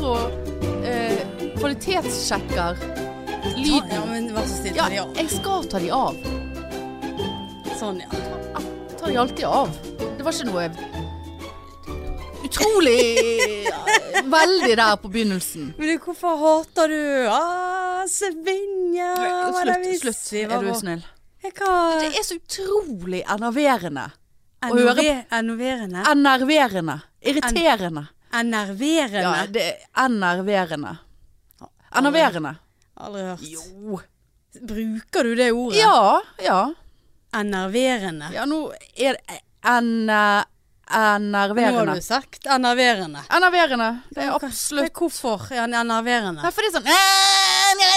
eh, kvalitetssjekker Lyden. Ja, lyden. men vær så snill, Ja, ta de av. jeg skal ta de av. Sånn, ja. Jeg tar de alltid av. Det var ikke noe utrolig ja, Veldig der på begynnelsen. Men du, hvorfor hater du ah, Svinja? Hva er det Slutt, vi slutt, sier, er du hva- snill. Jeg kan- Det er så utrolig enerverende. å høre på- Enerve- Enerverende? Enerverende. Irriterende. Enerverende? Ja, det er enerverende. Enerverende. Aldri hørt. Jo. Bruker du det ordet? Ja, ja. Enerverende. Ja, nå er det en, eh, Nå har enerverende. du sagt enerverende. Enerverende. Det er Det absolutt er Hvorfor ja, enerverende? Nei, for det er sånn Bare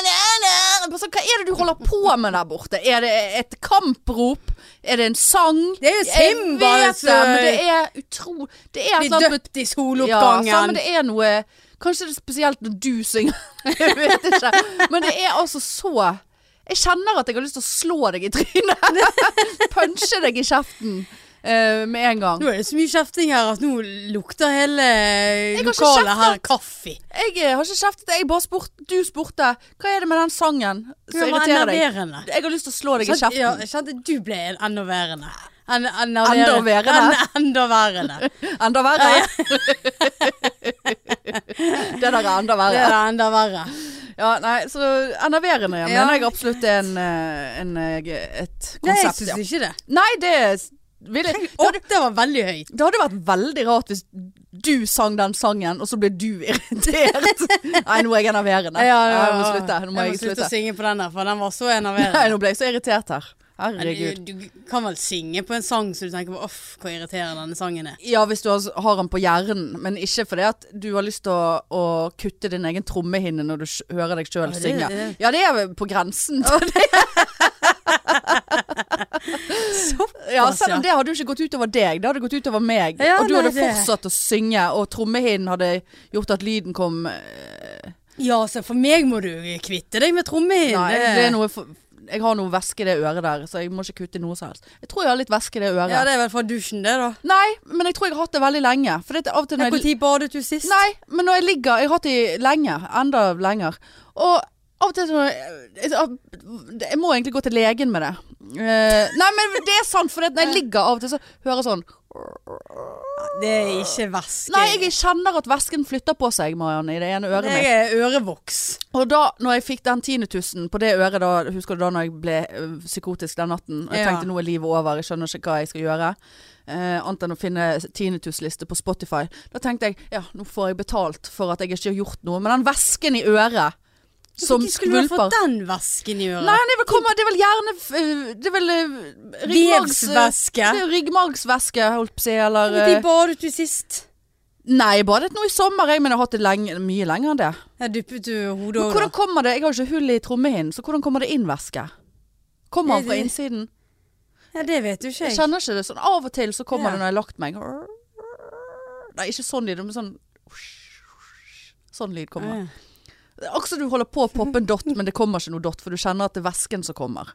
sånn, Hva er det du holder på med der borte? Er det et kamprop? Er det en sang? Det er jo Jeg Simba, vet så- det, men det er utro... Det er et Blir eller annet døpt i med- soloppgangen. altså, Ja, sånn, men det er noe Kanskje det er spesielt når du synger. Jeg vet ikke. Men det er altså så Jeg kjenner at jeg har lyst til å slå deg i trynet. Punche deg i kjeften eh, med en gang. Nå er det så mye kjefting her at nå lukter hele har ikke lokalet her kjeftet. kaffe. Jeg eh, har ikke kjeftet deg, jeg bare spurte Du spurte hva er det med den sangen Det som var irriterer deg? enerverende. Jeg har lyst til å slå deg i Sant? Ja, kjeften. jeg kjente du ble en enda værende. En, enda Enda værende. værende? En, enda værende. Enda verre. det der er enda Det verre. er enda verre. Ja, nei, så enerverende ja. Ja. mener jeg absolutt er en, eh, en, eh, Nei, et jeg konsept. syns Ja. ikke det. Nei, det vil jeg Å, det var veldig høyt. Det hadde vært veldig rart hvis du sang den sangen, og så ble du irritert. Nei, nå er jeg enerverende. Jeg må slutte. Nå må jeg, slutte slutte. å synge på den der, for den var så enerverende. Nei, nå ble jeg så irritert her. Men Herregud. Du, du kan vel synge på en sang så du tenker på Uff, hvor irriterende denne sangen er. Ja, hvis du har har den på hjernen, men ikke fordi at du har lyst til å, å kutte din egen trommehinne når du sj- hører deg sjøl det- synge. det- Ja, det er vel på grensen til det. Ja, selv om det hadde jo ikke gått utover deg, det hadde gått utover meg. Ja, og du nei, hadde det- fortsatt å synge, og trommehinnen hadde gjort at lyden kom eh, Ja, så for meg må du kvitte deg med trommehinnen. Nei, det er noe for, jeg har noe væske i det øret der, så jeg må ikke kutte i noe som helst. Jeg tror jeg har litt væske i det øret. Ja, det er vel fra dusjen, det, da. Nei, men jeg tror jeg har hatt det veldig lenge. For det er av og til når jeg Når badet du sist? Nei, men når jeg ligger Jeg har hatt de lenge, enda lenger Og av og til så jeg, eh, jeg må egentlig gå til legen med det Eh, Nei, men det er sant For når jeg ligger av og til så hører jeg sånn Det er ikke væske. Nei, jeg kjenner at væsken flytter på seg, Marianne I det ene øret Det mitt er ørevoks. Og da, når jeg fikk den tinetusen på det øret da, Husker du da når jeg ble øh, psykotisk den natten Og jeg Ja. tenkte nå er livet over, jeg skjønner ikke hva jeg skal gjøre eh, Annet enn å finne tinitusliste på Spotify Da tenkte jeg, ja, nå får jeg betalt for at jeg ikke har gjort noe Men den vesken i øret Som Hvorfor skulle du ha fått skvulper den væsken i Nei, øret? det er vel, komme, det er vel gjerne øh, Det er vel øh, ryggmargs- Vevsvæske. Det er jo ryggmargsvæske, holdt på å si Eller Når øh, badet du sist? Nei, jeg badet nå i sommer jeg, Men jeg har hatt det lenge, mye lenger enn det Ja, duppet du hodet Men over? hvordan kommer det, jeg har jo ikke hull i trommehinnen, så hvordan kommer det inn væske? Kommer han fra Det- innsiden? Ja, det vet jo ikke Jeg jeg. kjenner ikke det sånn. Av og til så kommer Ja. det når jeg har lagt meg. Nei, ikke sånn lyd, men sånn Sånn lyd Ah, kommer. ja. Det er Akkurat som du holder på å poppe en dott, men det kommer ikke noe dott, for du kjenner at det er væsken som kommer.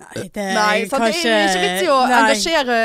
Nei, det Nei, sant? kan Det er ikke vits i å Nei. engasjere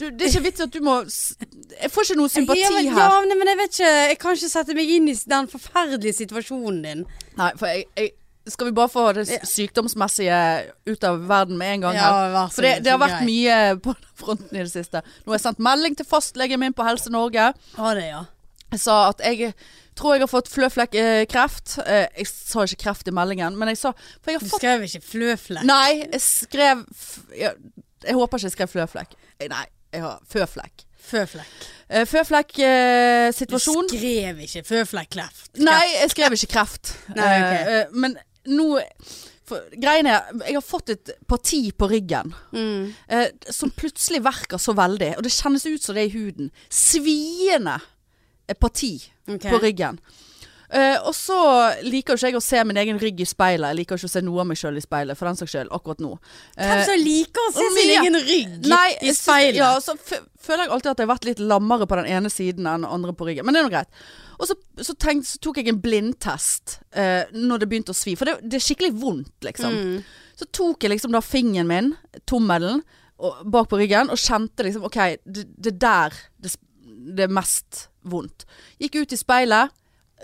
du, Det er ikke vits i at du må s- Jeg får ikke noe sympati ja, men, her. Ja, men- men jeg vet ikke Jeg kan ikke sette meg inn i den forferdelige situasjonen din. Nei, for jeg, jeg Skal vi bare få det s- sykdomsmessige ut av verden med en gang her? vær så For det, snill, det har så vært grei. mye på den fronten i det siste. Nå har jeg sendt melding til fastlegen min på Helse Norge. Ha det, ja. Jeg sa at jeg tror jeg har fått fløflekkreft. Eh, jeg sa ikke kreft i meldingen, men jeg sa For jeg Du har fått skrev ikke fløflekk. Nei, jeg skrev f- jeg, jeg håper ikke jeg skrev fløflekk. Eh, Nei, jeg har føflekk. Føflekk. Eh, Føflekksituasjon. Eh, Du situasjon. skrev ikke føflekkleft. Nei, jeg skrev ikke kreft. Nei, ok. Eh, eh, men nå for, Greien er, jeg har fått et parti på ryggen. Mm. eh, som plutselig verker så veldig, og det kjennes ut som det er i huden. Sviende eh, parti Ok. på ryggen. Eh, og så liker jo ikke jeg å se min egen rygg i speilet. Jeg liker jo ikke å se noe av meg sjøl i speilet, for den saks skyld, akkurat nå. Hvem Eh, som liker å se og sin mye- egen rygg nei, i jeg syns- speilet? Ja, så fø- føler jeg alltid at jeg har vært litt lammere på den ene siden enn den andre på ryggen. Men det er nå greit. Og så, så, tenkte, så tok jeg en blindtest eh, når det begynte å svi, for det, det er skikkelig vondt, liksom. Mm. Så tok jeg liksom da fingeren min, tommelen, og, bak på ryggen og kjente liksom OK, det, det der det, sp- det er mest vondt. Gikk ut i speilet.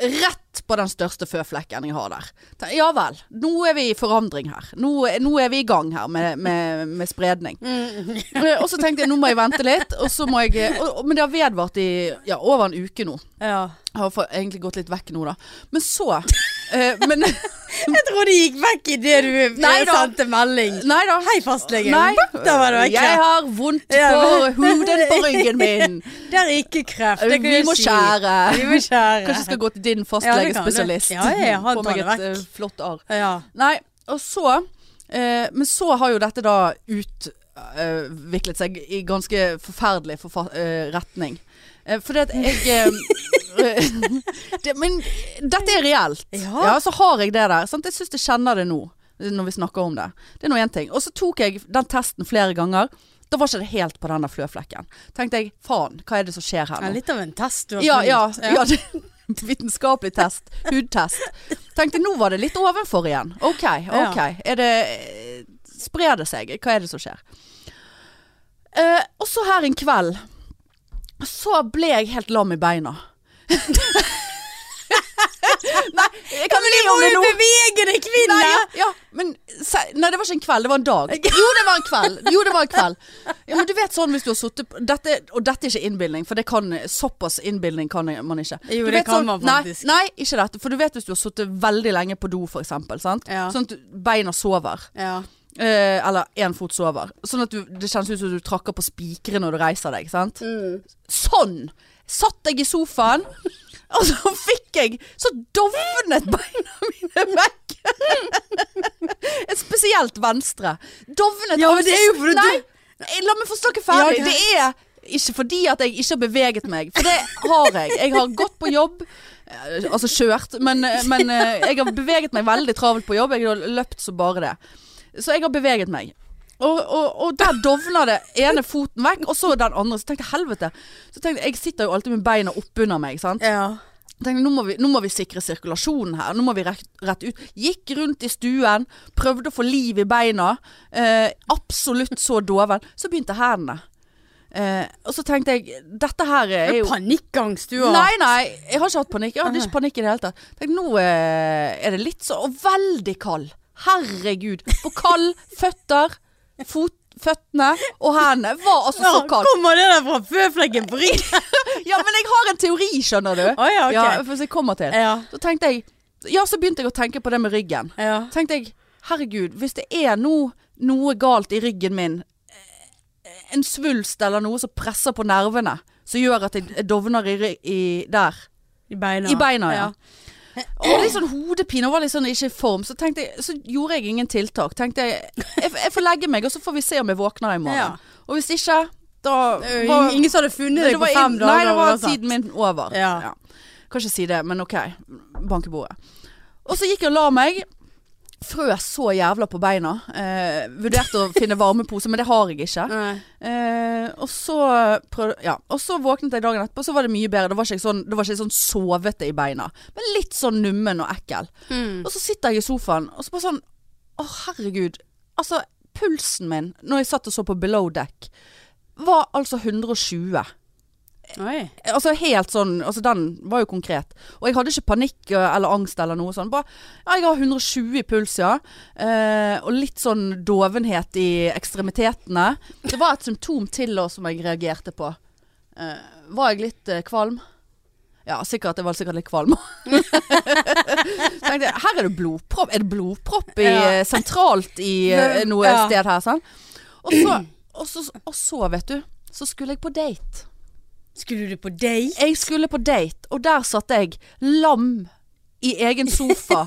Rett rett på den største føflekken jeg har der. Ta- Ja vel, nå er vi i forandring her. Nå, nå er vi i gang her med, med, med spredning. mm. Eh, Og så tenkte jeg nå må jeg vente litt, og så må jeg og, og, Men det har vedvart i ja, over en uke nå. Ja. Jeg har for- egentlig gått litt vekk nå, da. Men så eh, Men Jeg tror det gikk vekk idet du Nei da. sendte melding. Nei da. Hei, fastlegen. Nei. Bopp, Der var det vekk. Jeg har vondt Ja, på men- huden på ryggen min. Der er ikke kreft. Det kan Vi jeg må si. skjære. Vi må skjære. Kanskje jeg skal gå til din det fastlegespesialist. kan du. Ja, ja, han Få tar meg det et vekk. eh, flott arr. Ja. Nei, og så eh, Men så har jo dette da utviklet seg i ganske forferdelig forfa eh, retning. Eh, fordi at jeg eh, det, Men dette er reelt. Ja. så har jeg det der. Sant? Jeg syns jeg kjenner det nå, når vi snakker om det. Det er nå én ting. Og så tok jeg den testen flere ganger. Da var ikke det helt på denne fløflekken. Tenkte jeg faen, hva er det som skjer her Ja, nå? litt av en test du har Ja, ja, funnet. ja. det- Vitenskapelig test. Hudtest. Tenkte nå var det litt ovenfor igjen. Ok, ok. Er det Sprer det seg? Hva er det som skjer? Eh, og så her en kveld så ble jeg helt lam i beina. Nei, jeg kan Men le jeg om må det jo nå. bevege deg, kvinne! Nei, ja, ja, men se, Nei, det var ikke en kveld, det var en dag. Jo, det var en kveld. Jo, det var en kveld. Ja, men du vet sånn hvis du har sittet på- dette, Og dette er ikke innbilning, for det kan, såpass innbilning kan jeg- man ikke. Jo, Du det vet kan sånn, man faktisk. Nei, nei, ikke dette. For du vet hvis du har sittet veldig lenge på do, for eksempel. Sant? Ja. Sånn at du- beina sover. Ja. Eh, eller én fot sover. Sånn at du, det kjennes ut som du trakker på spikere når du reiser deg. Sant? Mm. Sånn! Satt jeg i sofaen, og så fikk jeg Så dovnet beina mine vekk! Et Spesielt venstre. Dovnet Ja, men det er jo fordi du- Nei, la meg få snakke ferdig. Ja, greit. det er ikke fordi at jeg ikke har beveget meg, for det har jeg. Jeg har gått på jobb. eh, Altså kjørt, men, men eh, jeg har beveget meg veldig travelt på jobb. Jeg har løpt så bare det. Så jeg har beveget meg. Og, og, og der dovna det ene foten vekk, og så den andre. Så tenkte jeg helvete. Så tenkte Jeg jeg sitter jo alltid med beina oppunder meg. Sant? ja. tenkte, nå, må vi, nå må vi sikre sirkulasjonen her. Nå må vi rett, rett ut. Gikk rundt i stuen, prøvde å få liv i beina. Eh, absolutt så doven. Så begynte hendene. Eh, og så tenkte jeg Dette her er jo Panikkangst du har. Nei, nei, jeg har ikke hatt panikk. Jeg hadde ikke panikk i det hele tatt. Tenk, nå eh, er det litt så Og veldig kald. Herregud. På kald føtter, fot, føttene og hendene var altså Ja, så kald. kommer det der fra føflekken på ryggen? Ja, men jeg har en teori, skjønner du. Å ja, ok. Eh. Ja, for jeg kommer til. Ja. Så tenkte jeg Ja, så begynte jeg å tenke på det med ryggen. ja. Tenkte jeg, herregud, hvis det er no, noe galt i ryggen min, eh, en svulst eller noe som presser på nervene, som gjør at jeg dovner i, ry- i der I beina. I beina, ja. Og litt sånn hodepine, og var litt sånn ikke i form. Så, tenkte jeg, så gjorde jeg ingen tiltak. Tenkte jeg, jeg, jeg får legge meg, og så får vi se om jeg våkner i morgen. Ja. Og hvis ikke, da Eh, var- ingen- Ingen som hadde funnet deg det på var fem inn- dager? Nei, det og var sånn. tiden min over. Ja. Kan ikke si det, men ok. Banke bordet. Og så gikk jeg og la meg. Frøs så jævla på beina. Eh, vurderte å finne varmepose, men det har jeg ikke. Nei. Eh, og, så prøv, ja. og så våknet jeg dagen etterpå, så var det mye bedre. Det var ikke jeg sånn, det var ikke jeg sånn sovete i beina, men litt sånn nummen og ekkel. Mm. Og så sitter jeg i sofaen, og så bare sånn Å, herregud. Altså, pulsen min når jeg satt og så på Below Deck, var altså 120 Oi. altså helt sånn, altså den var jo konkret. Og jeg hadde ikke panikk eh, eller angst eller noe sånt. Bare, ja, jeg har 120 i puls, ja. Eh, og litt sånn dovenhet i ekstremitetene. Det var et symptom til da som jeg reagerte på. Eh, var jeg litt eh, kvalm? Ja, sikkert. Jeg var sikkert litt kvalm. Tenkte jeg, her er det blodpropp. Er det blodpropp i, eh, Ja. sentralt i eh, noe Ja. sted her, sant? Og så, og, så, og så, vet du, så skulle jeg på date. Skulle du på date? Jeg skulle på date, og der satt jeg lam i egen sofa.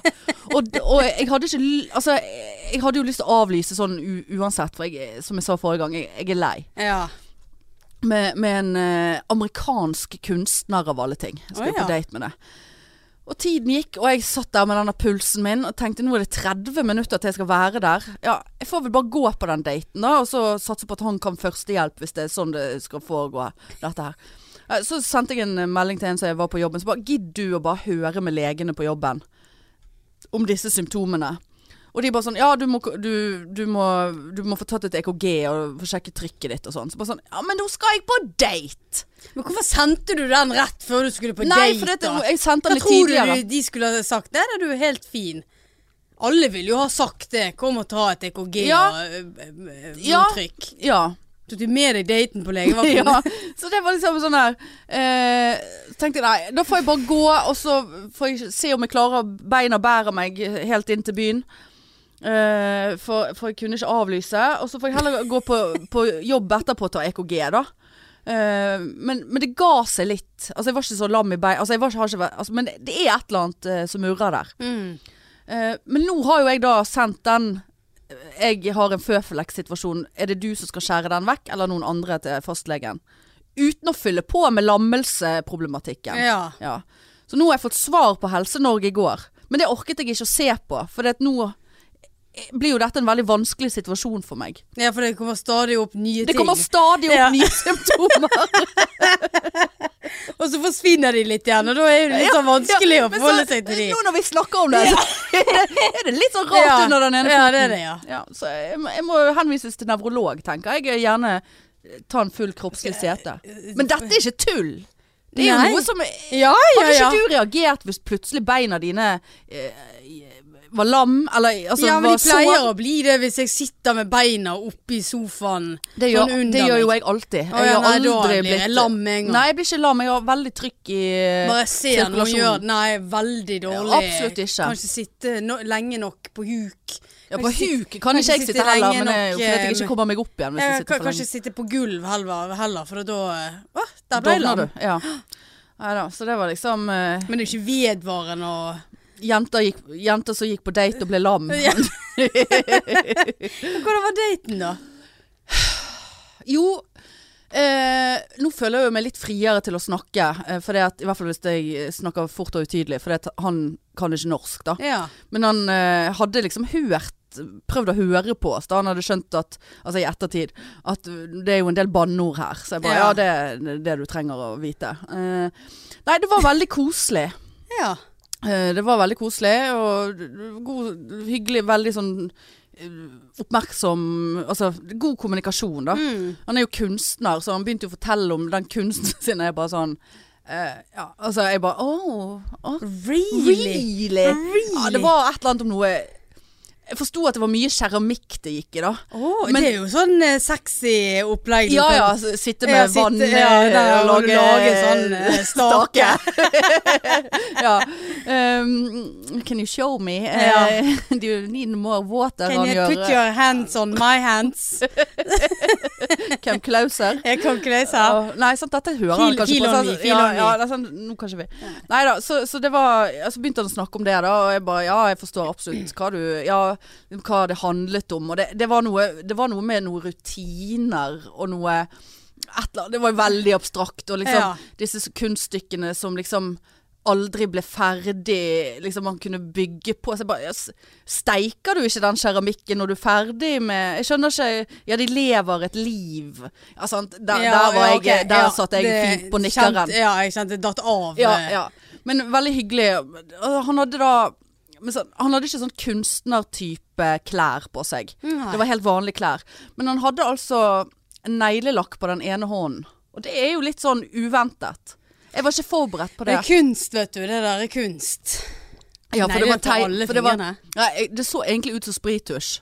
og, og jeg hadde ikke l- Altså, jeg hadde jo lyst til å avlyse sånn u uansett, for jeg, som jeg sa forrige gang, jeg, jeg er lei. Ja. Med, med en eh, amerikansk kunstner av alle ting. Jeg skulle Å, ja. på date med det. Og tiden gikk, og jeg satt der med denne pulsen min og tenkte nå er det 30 minutter til jeg skal være der. Ja, jeg får vel bare gå på den daten da, og så satse på at han kan førstehjelp hvis det er sånn det skal foregå, dette her. Eh, Så sendte jeg en eh, melding til en som jeg var på jobben, så bare gidd du å bare høre med legene på jobben om disse symptomene. Og de bare sånn Ja, du må, k- du, du må, du må få tatt et EKG og få sjekke trykket ditt og sånn. Så bare sånn Ja, men nå skal jeg på date! Men hvorfor sendte du den rett før du skulle på Nei, date? for dette, da? jeg Da sendte den litt tror du tidligere. du de skulle ha sagt Nei, da, du er helt fin. Alle vil jo ha sagt det. Kom og ta et EKG Ja. og øh, øh, øh, Ja. blodtrykk. Ja. Tok du med deg daten på legevakten? ja. Så det var liksom sånn her eh, Tenkte jeg nei, da får jeg bare gå, og så får jeg se om jeg klarer beina bærer meg helt inn til byen. Eh, for, for jeg kunne ikke avlyse. Og så får jeg heller gå på, på jobb etterpå og ta EKG, da. Eh, men, men det ga seg litt. Altså Jeg var ikke så lam i beina. Altså, jeg var ikke- har ikke vært- altså, men det, det er et eller annet eh, som murrer der. Mm. Eh, men nå har jo jeg da sendt den eh, Jeg har en føflekksituasjon. Er det du som skal skjære den vekk, eller noen andre til fastlegen? Uten å fylle på med lammelseproblematikken. ja. Ja. Så nå har jeg fått svar på Helse-Norge i går. Men det orket jeg ikke å se på, for det at nå eh, blir jo dette en veldig vanskelig situasjon for meg. Ja, for det kommer stadig opp nye Det kommer ting. stadig opp Ja. nye symptomer. Og så forsvinner de litt igjen, og da er det litt sånn vanskelig å Men forholde så- seg til de. Nå når vi snakker om det, så er det litt sånn rart Ja. under den ene Ja, det er det, ja. Ja, så jeg, må- jeg må henvises til nevrolog, tenker jeg. Jeg Gjerne eh, ta en full kroppslig sete. Men dette er ikke tull! Det er Nei. jo noe som Ja, ja, Hadde ja. ikke du reagert hvis plutselig beina dine eh, var lam, eller altså ja, men var de pleier sår? å bli det hvis jeg sitter med beina oppi sofaen. Det gjør, sånn under det gjør jo meg. jeg alltid. Å, ja, har nei, da aldri blir jeg lam med en gang. Nei, jeg blir ikke lam. Jeg har veldig trykk i Bare ser noen sirkulasjonen. gjør det. Nei, veldig dårlig. Eh, Ja, absolutt ikke. Kan ikke sitte no lenge nok på huk. ja, Kan ikke På sitte- huk kan ikke jeg sitte heller, men det er jo fordi at jeg lenge ikke nok, eh, kommer meg opp igjen hvis Jeg jeg kan, sitter kan for lenge. ikke sitte på gulv heller, heller for da Å, der ble jeg Dovner lam. du. Ja. Neida, så det var liksom eh, Men det er jo ikke vedvarende å jenter, gikk, jenter som gikk på date og ble lam. Ja. Hvordan var daten, da? Jo, eh, nå føler jeg jo meg litt friere til å snakke. Eh, for det at, I hvert fall hvis jeg eh, snakker fort og utydelig, for det at han kan ikke norsk. da Ja. Men han eh, hadde liksom hørt Prøvd å høre på oss. da Han hadde skjønt at Altså i ettertid at det er jo en del banneord her. Så jeg bare Ja, Ja. det er det du trenger å vite. Eh, nei, det var veldig koselig. ja. Eh, Det var veldig koselig og god, hyggelig, veldig sånn eh, oppmerksom Altså god kommunikasjon, da. Mm. Han er jo kunstner, så han begynte jo å fortelle om den kunsten sin. og Jeg bare sånn eh, ja, Altså, jeg bare Åh, åh, Really? really? Really? Ja, det var et eller annet om noe Jeg forsto at det var mye keramikk det gikk i, da. Å, Men- det er jo sånn eh, sexy opplegg. du Ja kan- ja, s- sitte med Ja, sitte- vann ja, eh, der, og og lage, lage sånn, eh, stake. ja. Um, can you show me? Ja. Eh, do you need more water? eh, Can han you gjør, put your hands on my hands? eh, Come closer. Jeg kan ikke lese her. Ja. Nei, sant, dette hører han Feel- kanskje feel på. on sant? me, feel ja, on me. ja, det er sant, nå kanskje vi. Nei da, så, så det var ja, Så begynte han å snakke om det, da, og jeg bare Ja, jeg forstår absolutt hva du Ja, hva det handlet om. Og det, det, var, noe, det var noe med noen rutiner og noe et eller annet, Det var jo veldig abstrakt, og liksom Ja. disse s- kunststykkene som liksom Aldri ble ferdig, liksom man kunne bygge på. Så jeg bare, ja, s- steiker du ikke den keramikken når du er ferdig med Jeg skjønner ikke Ja, de lever et liv. Ja, sant? Der, Ja, der, var ja, jeg, ok, der ja, satt jeg det fint på nikkeren. kjente- Ja, jeg kjente det datt av. ja, eh, ja. Men veldig hyggelig. Og Han hadde da men sånn- han hadde ikke sånn kunstnertype klær på seg. Nei. Det var helt vanlige klær. Men han hadde altså neglelakk på den ene hånden. Og det er jo litt sånn uventet. Jeg var ikke forberedt Det på det. er kunst, vet du. Det der er kunst. Ja, for Nei, det var det tar tei- alle for det var- fingrene. Nei, jeg- det så egentlig ut som sprittusj.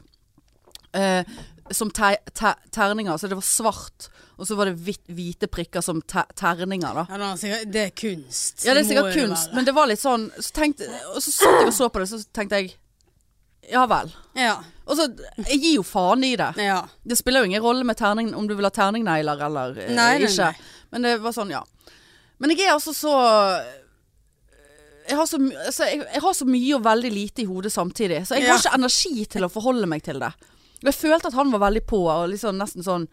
Eh, som te te terninger. Så det var svart, og så var det hvit hvite prikker som te terninger, da. Ja, da, sikkert- det er kunst. Ja, det er Må sikkert jo kunst, være. men det var litt sånn så tenkte, Og så satt jeg og så på det, så tenkte jeg Ja vel. Ja, Og så Jeg gir jo faen i det. ja. Det spiller jo ingen rolle med terning, om du vil ha terningnegler eller eh, Nei, nei, ikke. nei. Men det var sånn, ja. Men jeg er altså så jeg har, så, my- altså, jeg, jeg har så mye og veldig lite i hodet samtidig, så jeg Ja. har ikke energi til å forholde meg til det. Og Jeg følte at han var veldig på, og liksom nesten sånn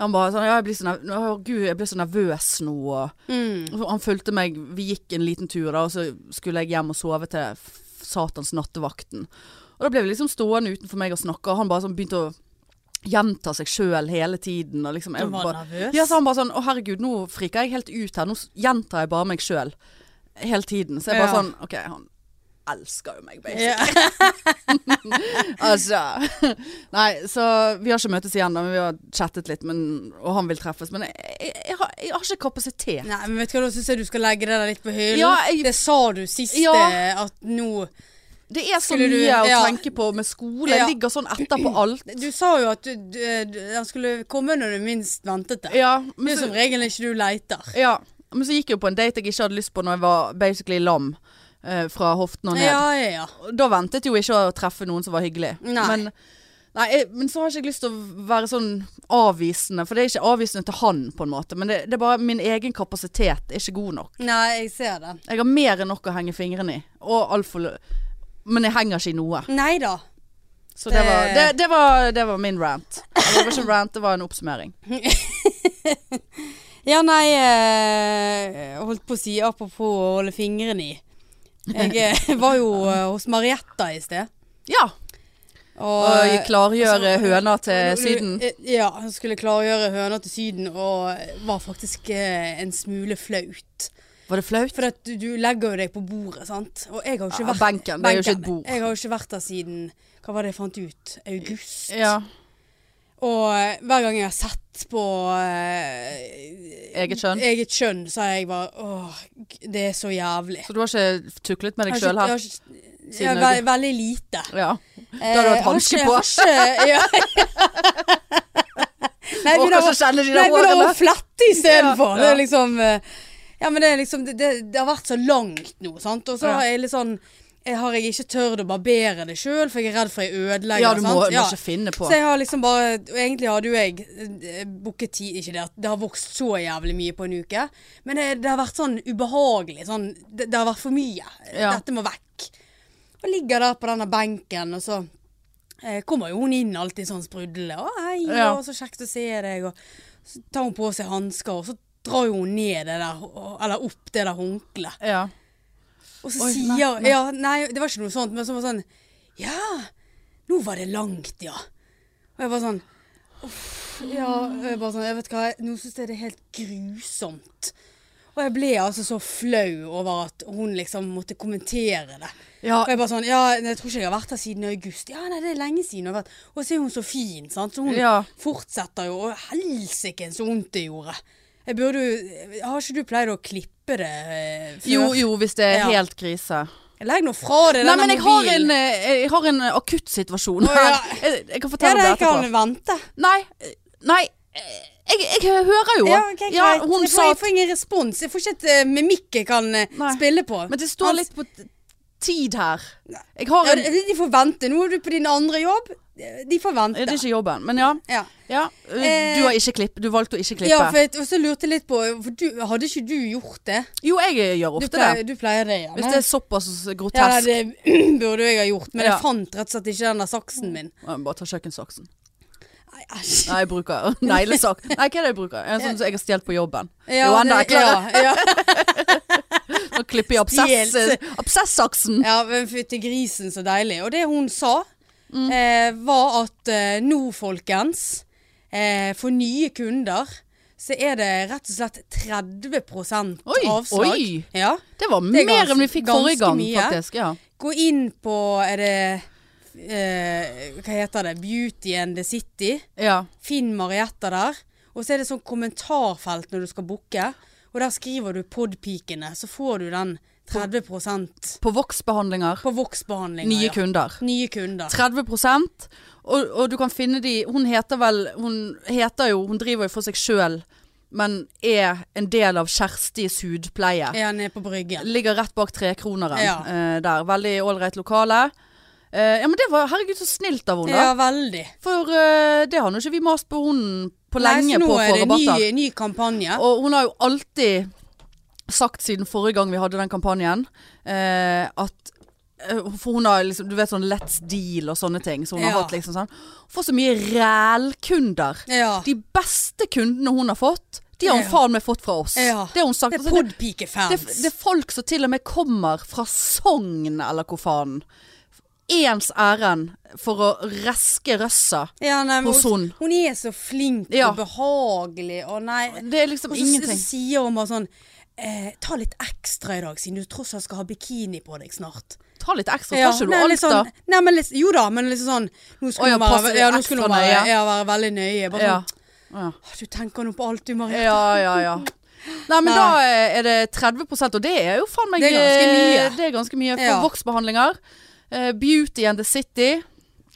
Han bare sånn Ja, jeg blir så, nerv å, Gud, jeg blir så nervøs nå, og Mm. og Han fulgte meg, vi gikk en liten tur da, og så skulle jeg hjem og sove til f- satans nattevakten. Og da ble vi liksom stående utenfor meg og snakke, og han bare sånn begynte å gjenta seg sjøl hele tiden. Og liksom, Du jeg var bare, nervøs? ja, så han bare sånn Å herregud, nå friker jeg helt ut her, nå s- gjentar jeg bare meg sjøl hele tiden. Så jeg bare Ja. sånn OK, han elsker jo meg, basically. Ja. Altså Nei, så vi har ikke møtes igjen, da, men vi har chattet litt, men, og han vil treffes. Men jeg, jeg, jeg, har, jeg har ikke kapasitet. Nei, men vet du hva, da syns jeg du skal legge det der litt på hyllen. Ja, jeg- Det sa du sist, Ja. eh, at nå Det er så Skulle du- mye å ja. tenke på med skole. Ja. Jeg ligger sånn etterpå alt. Du sa jo at du, du, eh, du, han skulle komme når du minst ventet det. Ja, Det men er sånn- så, som regel ikke du leiter. ja, men så gikk jeg jo på en date jeg ikke hadde lyst på når jeg var basically lam eh, fra hoften og ned. Ja, ja, ja. Da ventet jo ikke å treffe noen som var hyggelig. Nei. Men, nei, jeg, men så har jeg ikke lyst til å være sånn avvisende, for det er ikke avvisende til han, på en måte. Men det, det er bare min egen kapasitet er ikke god nok. Nei, jeg ser den. Jeg har mer enn nok å henge fingrene i. Og altfor lø- Men jeg henger ikke i noe. Nei da. Så det Det- var, det, det var, det var min rant. Eller, Det var ikke en rant, det var en oppsummering. Ja, nei eh, Holdt på å si apropos å holde fingrene i. Jeg eh, var jo eh, hos Marietta i sted. Ja. Og, Og klargjøre altså, høna til og du- Syden. eh, Ja, hun skulle klargjøre høna til Syden, og var faktisk eh, en smule flaut. Var det flaut? For at du, du legger jo deg på bordet, sant. Og jeg har jo ikke Ja, vært benken, det er jo ikke et bord. Jeg har jo ikke vært der siden Hva var det jeg fant ut? August. Ja. Og eh, hver gang jeg har sett på eh, Eget kjønn? Eget kjønn, så har jeg bare Åh, g- det er så jævlig. Så du har ikke tuklet med deg Jeg sjøl har her? ikke- jeg har ikke- siden ja, ve veldig lite. Eh, Ja. Da har du hatt hanske på. Nei, men Orker det ikke var å kjenne Nei, de der men det var hårene. flette istedenfor. Ja, Det ja. er liksom eh, Ja, men det er liksom Det, det, det har vært så langt nå, sant. Og så Ja. har jeg litt sånn jeg har jeg ikke tørt å barbere det sjøl, for jeg er redd for jeg ødelegger Ja, du må, sant? må ikke finne på. Så jeg har liksom bare Og egentlig hadde jo jeg eh, booket tid Ikke det at det har vokst så jævlig mye på en uke, men det, det har vært sånn ubehagelig. Sånn, det, det har vært for mye. Ja. Dette må vekk. Og ligger der på denne benken, og så eh, kommer jo hun inn alltid sånn sprudlende. Å, hei, Ja. og så kjekt å se deg. Og så tar hun på seg hansker, og så drar jo hun ned det der, eller opp det der håndkleet. Ja. Og så Oi, nei, sier nei. Ja, nei, det var ikke noe sånt, men så var det sånn Ja, nå var det langt, ja. Og jeg var sånn Uff, ja. og Jeg bare sånn, jeg vet hva, jeg- nå syns jeg det er helt grusomt. Og jeg ble altså så flau over at hun liksom måtte kommentere det. ja. Og jeg bare sånn, ja, nei, jeg tror ikke jeg har vært her siden august. Ja, nei, det er lenge siden. jeg har vært. Og så er hun så fin, sant. Så hun Ja. fortsetter jo. Og helsike så vondt det gjorde. Jeg burde jo eh, Har ikke du pleid å klippe det eh, før? Jo, jo, hvis det er Ja. helt krise. Legg nå fra deg Nei, denne men jeg har mobilen. en, eh, jeg har en akutt situasjon Å, ja. her. Jeg, jeg kan Ja, fortelle det det jeg kan etterpå. vente. Nei. eh, Nei. eh, Jeg, jeg hører jo. Ja, ok, greit. Ja, hun jeg, får, sa jeg får ingen respons. Jeg får ikke et eh, mimikk jeg kan eh, Nei. spille på. Men det står Hans- litt på t- tid her. Nei. Jeg har ja, en de- De får vente. Nå er du på din andre jobb. De får Det vente. er ikke jobben, men ja. Ja. ja. uh, Eh, Du har ikke klipp. Du valgte å ikke klippe. ja, for jeg og så lurte jeg litt på for du, Hadde ikke du gjort det? Jo, jeg gjør Du ofte pleier, det. du pleier det, ja. Hvis Nei. det er såpass ja, grotesk. det burde jo jeg ha gjort, men Ja. jeg fant rett og slett ikke den der saksen min. Ja, men Bare ta kjøkkensaksen. Nei, æsj. Nei, jeg bruker neglesaks. Nei, hva er det jeg bruker? En sånn som jeg har stjålet på jobben. Ja, jo, enda det- eklere. ja, ja. Nå klipper jeg absess, Stjelt. eh, absessaksen. Ja, men fytti grisen så deilig. Og det hun sa, Mm. eh, var at eh, nå, folkens, eh, for nye kunder, så er det rett og slett 30 Oi, avslag. oi. Ja. Det var Det er mer gans- enn vi fikk ganske forrige gang, mye. faktisk. Ja. Gå inn på Er det eh, Hva heter det? Beauty and the City. ja. Finn Marietta der. Og så er det sånn kommentarfelt når du skal booke. Og der skriver du podpikene, så får du den 30 på På voksbehandlinger. voksbehandlinga. Nye ja. kunder. Nye kunder. 30 og, og du kan finne de Hun heter vel Hun heter jo Hun driver jo for seg sjøl, men er en del av Kjerstis hudpleie. Er han nede på bryggen? Ligger rett bak trekroneren Ja. eh, der. Veldig ålreit lokale. Eh, ja, men det var herregud så snilt av henne, da. Ja, veldig. For eh, det har nå ikke vi mast på hun på lenge Nei, så nå på å er få det rabatter. ny, ny kampanje. Og hun har jo alltid sagt siden forrige gang vi hadde den kampanjen, eh, at eh, for hun har liksom, du vet sånn Let's Deal og sånne ting. Så hun Ja. har hatt liksom sånn Hun får så mye rælkunder. Ja. De beste kundene hun har fått, de har hun Ja. faen meg fått fra oss. Ja. Det har hun sagt. det er Altså, det, det, podpikefans. det er folk som til og med kommer fra Sogn, eller hvor faen. Ens ærend for å reske røssa. Ja, nei, men hos hun. Hun er så flink Ja. og behagelig og nei Det er liksom Og så, så ingenting. sier hun bare sånn eh, Ta litt ekstra i dag, siden du tross alt skal ha bikini på deg snart. ta litt ekstra. Ja, Tar ikke du nei, alt, litt sånn, da? nei, men litt, jo da, men liksom sånn Nå Å, skulle ja, hun være, passe ja, nå skulle ekstra hun være, nøye. ja, være veldig nøye. Bare Ja. sånn, ja. «Åh, du tenker nå på alt, du, Marie. mm. Ja, ja, ja. Nei, men Nei. da eh, er det 30 og det er jo faen meg Det er ganske eh, mye. Det er ganske mye for Ja. voksbehandlinger. Eh, Beauty and the City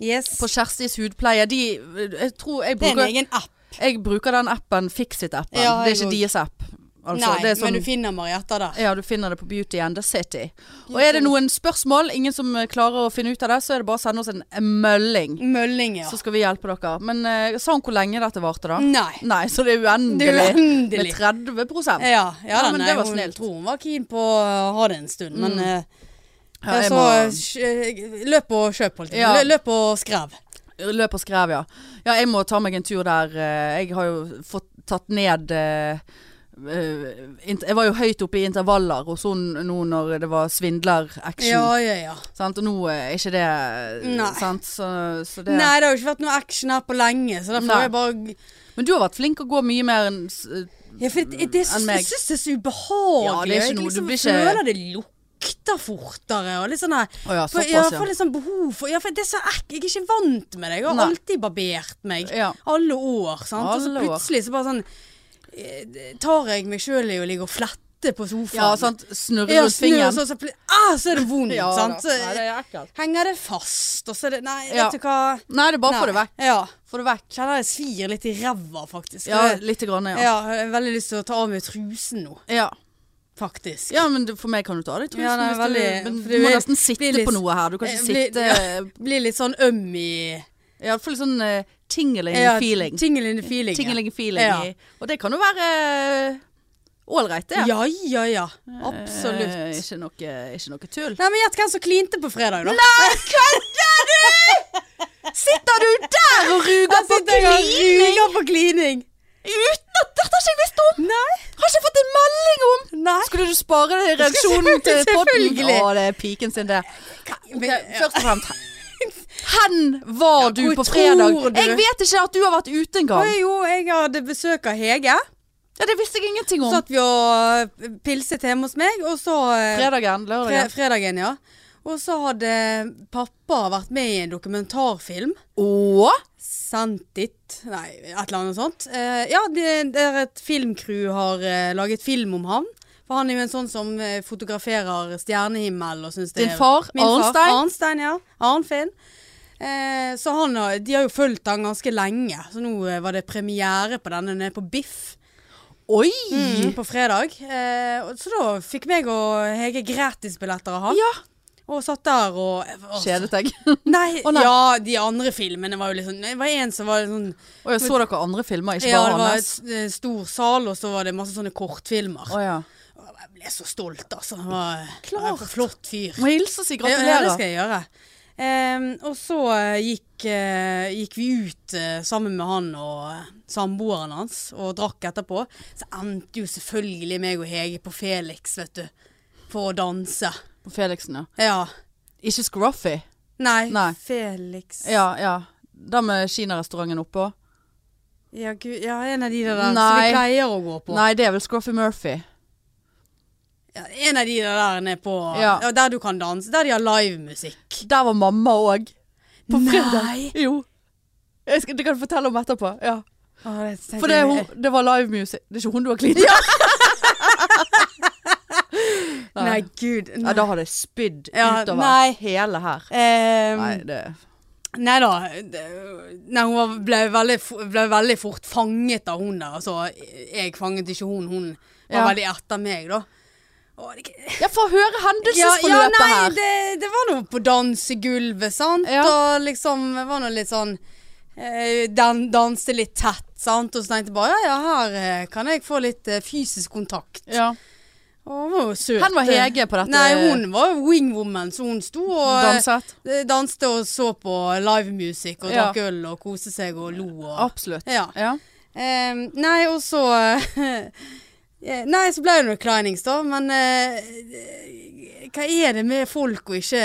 Yes. på Kjerstis hudpleie. De, eh, jeg tror jeg Det er en bruker, egen app. jeg bruker den appen Fixit-appen. Ja, det jeg er ikke også. deres app. Altså, nei, det er sånn- men du finner Marietta der. ja, du finner det på Beauty and the City. Og er det noen spørsmål, ingen som eh, klarer å finne ut av det, så er det bare å sende oss en en mølling. Mølling, ja. Så skal vi hjelpe dere. Men eh, sa hun hvor lenge dette varte, da? Nei. Nei, så det er uendelig. Det er uendelig. Eh, Med 30 Ja, ja, da, men nei, det var hun, snilt. Mm. tror hun var keen på å ha det en stund, men eh, Ja, jeg jeg så må- eh, løp og kjøp, holdt jeg på å Ja. si. Lø- Løp og skrev. Løp og skrev, ja. Ja, jeg må ta meg en tur der. eh, Jeg har jo fått tatt ned eh, eh, int- Jeg var jo høyt oppe i intervaller hos hun nå når det var svindler-action. Ja, ja, ja. Sant? Og nå eh, er ikke det eh, Nei. sant? Så, så det. Nei, det har jo ikke vært noe action her på lenge, så derfor Nei. har jeg bare Men du har vært flink å gå mye mer enn s- eh, Ja, for det, det, syns- Enn meg. jeg syns det er så ubehagelig. Ja, det er ikke jeg noe- du liksom blir ikke- føler det lukter fortere. Og litt sånn der. Å ja, For, såpass, ja, ja. for litt sånn behov for Ja, for det er så ekk, Jeg er ikke vant med det. Jeg har Nei. alltid barbert meg. Ja. Alle år. sant? og så Alle år. plutselig så bare sånn eh, Tar jeg meg sjøl i å ligge og flette på sofaen. ja, sant? snurre Ja, rundt snur, fingeren. og så, så, pl- ah, så er det vondt. ja, sant? da. Så Nei, det er ekkelt. henger det fast, og så er det Nei, Ja. vet du hva. Nei, det er bare å Nei. få det vekk. Ja. Få det vekk. Kjenner det svir litt i ræva, faktisk. Ja, Det- lite grann, ja. ja, jeg har veldig lyst til å ta av meg trusen nå, ja. faktisk. Ja, men det- for meg kan du ta det i trusen. Ja, nei, hvis veldig- du, men for du det må blir- nesten sitte blir litt- på noe her. Du kan ikke Eh, blir- sitte Blir litt sånn øm i Ja, i hvert fall sånn uh, tingling ja, feeling. Tingling feeling. ja. Tingling feeling. Ja. i- Og det kan jo være eh, ålreit, det. Ja, ja, ja. Eh, Absolutt. ikke, noe, ikke noe tull. Nei, men gjett hvem som klinte på fredag, da. Sitter du der og ruger Jeg sitter og ruger på klining! uten at Dette har ikke jeg visst om! Nei. Har ikke fått en melding om! Nei. Skulle du spare det i reaksjonen til podden? Selvfølgelig. Å, det er piken sin, det. Men, Ok, Først og fremst Hen var du hvor på fredag? tror du? Jeg vet ikke at du har vært ute Å, engang. jo, jeg hadde besøk av Hege. Ja, det visste jeg ingenting Så om. satt vi og eh, pilset hjemme hos meg, og så eh, Fredagen, fre lørdagen. Fredagen, ja. Og så hadde pappa vært med i en dokumentarfilm. Å? Sendt it Nei, et eller annet sånt. Eh, ja, det, det er et filmcrew har eh, laget film om han. For han er jo en sånn som eh, fotograferer stjernehimmel og syns det Din far, Min far, Arnstein? Arnstein, ja. Arnfinn. Eh, så han har, de har jo fulgt han ganske lenge. Så nå eh, var det premiere på denne nede på Biff Oi! mm, på fredag. Eh, og- så da fikk meg og Hege gratisbilletter av han. Ja. Og satt der og og- Kjedet jeg. Nei, Å, nei. ja, de andre filmene var jo litt sånn Det var en som var litt sånn Og jeg så dere andre filmer, ikke Ja, bare det var hans. en s- stor sal, og så var det masse sånne kortfilmer. Å ja. Og Jeg ble så stolt, altså. Han var Klart. han var en flott fyr. Må hilse og si Ja, det gratulerer. skal jeg gjøre. Ehm, og så eh, gikk, eh, gikk vi ut eh, sammen med han og eh, samboeren hans og drakk etterpå. Så endte jo selvfølgelig meg og Hege på Felix, vet du. For å danse. På Felixen, ja. Ja. Ikke Scruffy. Nei, Nei. Felix ja. Ja, ja. Da med kinarestauranten oppå. gud, ja, en av de der, der som Nei. vi pleier å gå på. Nei, det er vel Scruffy Murphy. Ja, en av de der der nede på Ja. ja, Der du kan danse. Der de har livemusikk. Der var mamma òg. På Nei. fredag. Jo. Jeg skal, det kan jeg fortelle om etterpå. Ja. For For det, er hun, det var live music. Det er ikke hun du har klint med? Nei, gud. Ja, Nei. da hadde jeg spydd Ja, utover nei. hele her. Ehm, Nei, det Nei da. Nei, hun var- ble veldig, fo- ble veldig fort fanget av hun der. Altså, jeg fanget ikke hun. Hun var Ja. veldig etter meg, da. Å, det, Jeg får høre ja, hendelsesforløpet ja, nei, her. det, det var noe på dansegulvet, sant. Ja. Og liksom det var noe litt sånn eh, Dan danste litt tett, sant. Og så tenkte jeg bare ja, ja, her eh, kan jeg få litt eh, fysisk kontakt. Ja. Og hun var jo søt. Hen var Hege på dette- Nei, hun var jo wingwoman, så hun sto og Danset. Eh, Danste og så på live music og Ja. drakk øl og koste seg og lo og Absolutt. Ja. Ja. Eh, nei, og så eh, Nei, så ble det noe kleinings, da, men eh, Hva er det med folk å ikke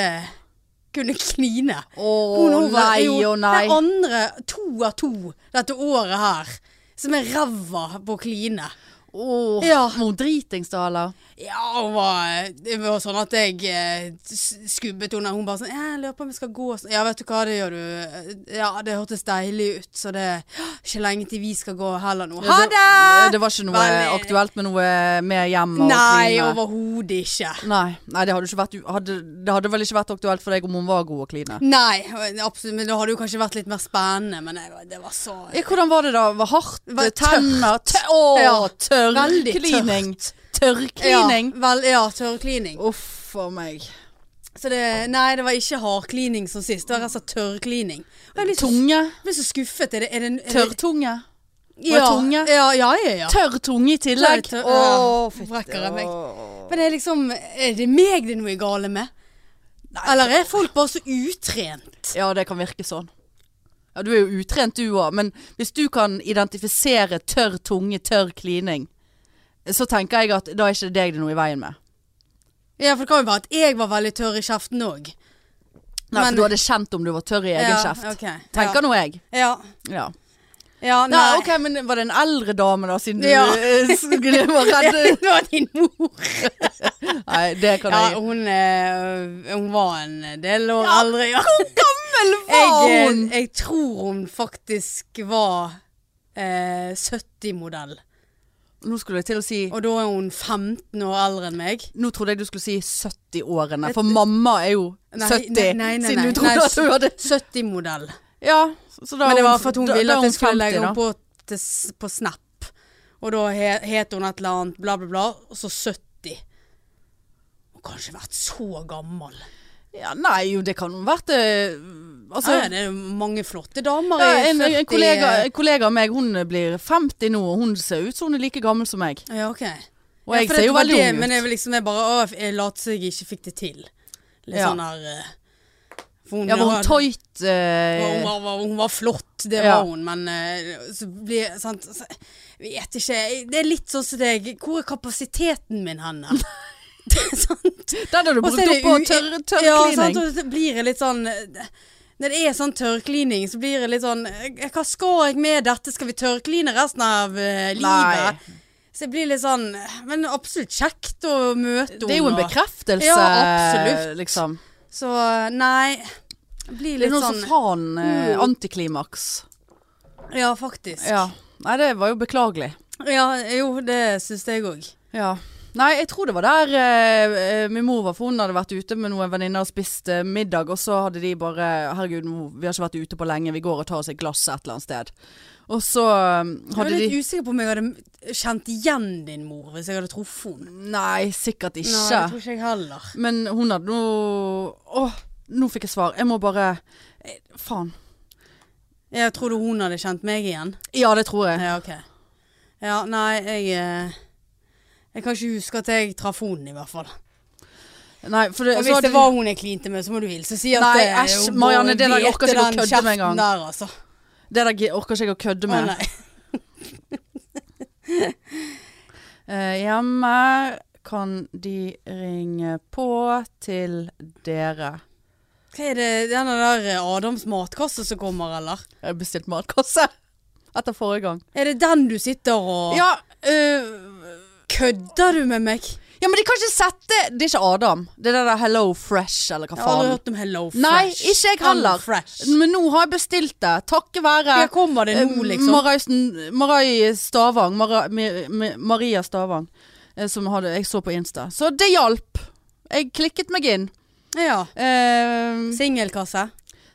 kunne kline? Å Hun over- nei, jo, å nei. Det andre to av to dette året her, som er ræva på å kline. Åh, Ja. var hun dritings da, eller? Ja, hun var, det var sånn at jeg eh, s- skubbet henne. Hun bare sånn «Ja, 'Jeg lurer på om jeg skal gå.' og sånn. Ja, vet du hva, det gjør du. Ja, det hørtes deilig ut, så det er ikke lenge til vi skal gå heller nå. Ha det! Det var ikke noe Veldig- aktuelt med noe med hjem og Nei, kline? overhodet ikke. Nei, nei det, hadde ikke vært, u- hadde, det hadde vel ikke vært aktuelt for deg om hun var god å kline? Nei, absolutt. Men det hadde jo kanskje vært litt mer spennende, men jeg, var- det var så Ja, hvordan var det da? Var hardt? eh, Var tørt. tenner? Tø å, Ja, tørr veldig klining. Klining. Tørrklining. Ja, vel, ja tørrklining. Uff a meg. Så det, nei, det var ikke hardklining som sist. Det var rett og slett tørrklining. Og Jeg ble så, Tunge. ble så skuffet. Er det, er det, er det Tørrtunge. ja, tunge? Ja, ja, ja. ja. Tørr tunge i tillegg. Tørr- tørr- Å, ja, fytti. vrekker jeg meg. Men det er liksom Er det meg det er noe gale med? Eller er folk bare så utrent? Ja, det kan virke sånn. Ja, du er jo utrent du òg, men hvis du kan identifisere tørr tunge, tørr klining, så tenker jeg at da er ikke deg det noe i veien med. Ja, for det kan jo være at jeg var veldig tørr i kjeften òg. Nei, Men- for du hadde kjent om du var tørr i egen kjeft. Ja, ok. Tenker nå jeg. ja. ja. Ja. ja, Nei. nei. ok, men var det en eldre dame da, siden du Ja. eh, s- var redd? Det var din mor. Nei, det kan Ja, jeg hun, eh, hun var en del år eldre, ja. Vel Jeg, eh, hun! jeg tror hun faktisk var eh, 70-modell. Nå skulle jeg til å si Og da er hun 15 år eldre enn meg. Nå trodde jeg du skulle si 70-årene, for mamma er jo 70, nei, nei, nei, siden nei. du trodde Nei, at du hadde 70-modell. Ja, så da Men det er var hun- for at hun da- da ville er at jeg skulle 50 legge da. henne på, til s- på Snap. Og da he, het hun et eller annet bla, bla, bla. Og så 70. Hun kan ikke vært så gammel. Ja, nei, jo det kan ha vært eh, Altså ja, ja, det er mange flotte damer ja, i eh. en, 40 en, kollega, en kollega av meg hun blir 50 nå, og hun ser ut som hun er like gammel som meg. Ja, ok. Og Ja, jeg for ser det jo var veldig det, ung Men jeg ut. var liksom jeg bare Å, jeg later som jeg ikke fikk det til. Litt Ja. sånn her eh, for hun Ja, var hun hadde- tøyt Ja, Hun eh, var, var, hun var flott, det Ja. var hun, men eh, så blir sant, så, Jeg vet ikke. jeg- Det er litt sånn som deg. Hvor er kapasiteten min hen? da? Det er sant. Den har du Og så brukt er opp det på u- tørr Ja, sant, tørrklining. og så blir jeg litt sånn eh, Når det er sånn tørrklining, så blir jeg litt sånn eh, Hva skal jeg med dette? Skal vi tørrkline resten av eh, Nei. livet? Så jeg blir litt sånn Men absolutt kjekt å møte henne. Det er jo en og- bekreftelse, Ja, absolutt. liksom. Så nei. Jeg blir Det er litt noe sånn så faen eh, Mm. antiklimaks. Ja, faktisk. Ja. Nei, det var jo beklagelig. Ja, jo, det syns jeg òg. Ja. Nei, jeg tror det var der eh, eh, min mor var, for hun hadde vært ute med noen venninner og spist eh, middag, og så hadde de bare Herregud, nå, vi har ikke vært ute på lenge, vi går og tar oss et glass et eller annet sted. Og så eh, Jeg hadde var litt de usikker på om jeg hadde kjent igjen din mor hvis jeg hadde truffet henne. Nei, sikkert Nei, det ikke. tror ikke jeg heller. Men hun hadde noe Åh, nå fikk jeg svar. Jeg må bare eh, Faen. Jeg trodde hun hadde kjent meg igjen. Ja, det tror jeg. Ja, ok. Ja, nei, jeg eh, Jeg kan ikke huske at jeg traff henne, i hvert fall. Nei, for det, Og så hvis hadde det de- var hun jeg klinte med, så må du hilse og si at Nei, det er æsj, jo Marianne, bare det der vet orker ikke den å kødde med kjeften engang. Der, altså. det der gi- orker ikke jeg å kødde Å, med. nei. Eh, hjemme kan de ringe på til dere. Hva er det den der eh, Adams matkasse som kommer, eller? Jeg har bestilt matkasse etter forrige gang. Er det den du sitter og Ja, eh, Kødder du med meg? ja, men de kan ikke sette Det er ikke Adam. Det er det der Hello Fresh eller hva Jeg har aldri faen. hørt om Hello Fresh. Nei, ikke jeg heller. Hello Fresh. Men nå har jeg bestilt det. Takket være Her kommer det nå, eh, liksom. Marausen- Marai Stavang. Mara, Mi- Mi- Maria Stavang. eh, Som hadde, jeg så på Insta. Så det hjalp. Jeg klikket meg inn. ja. Eh, Singelkasse.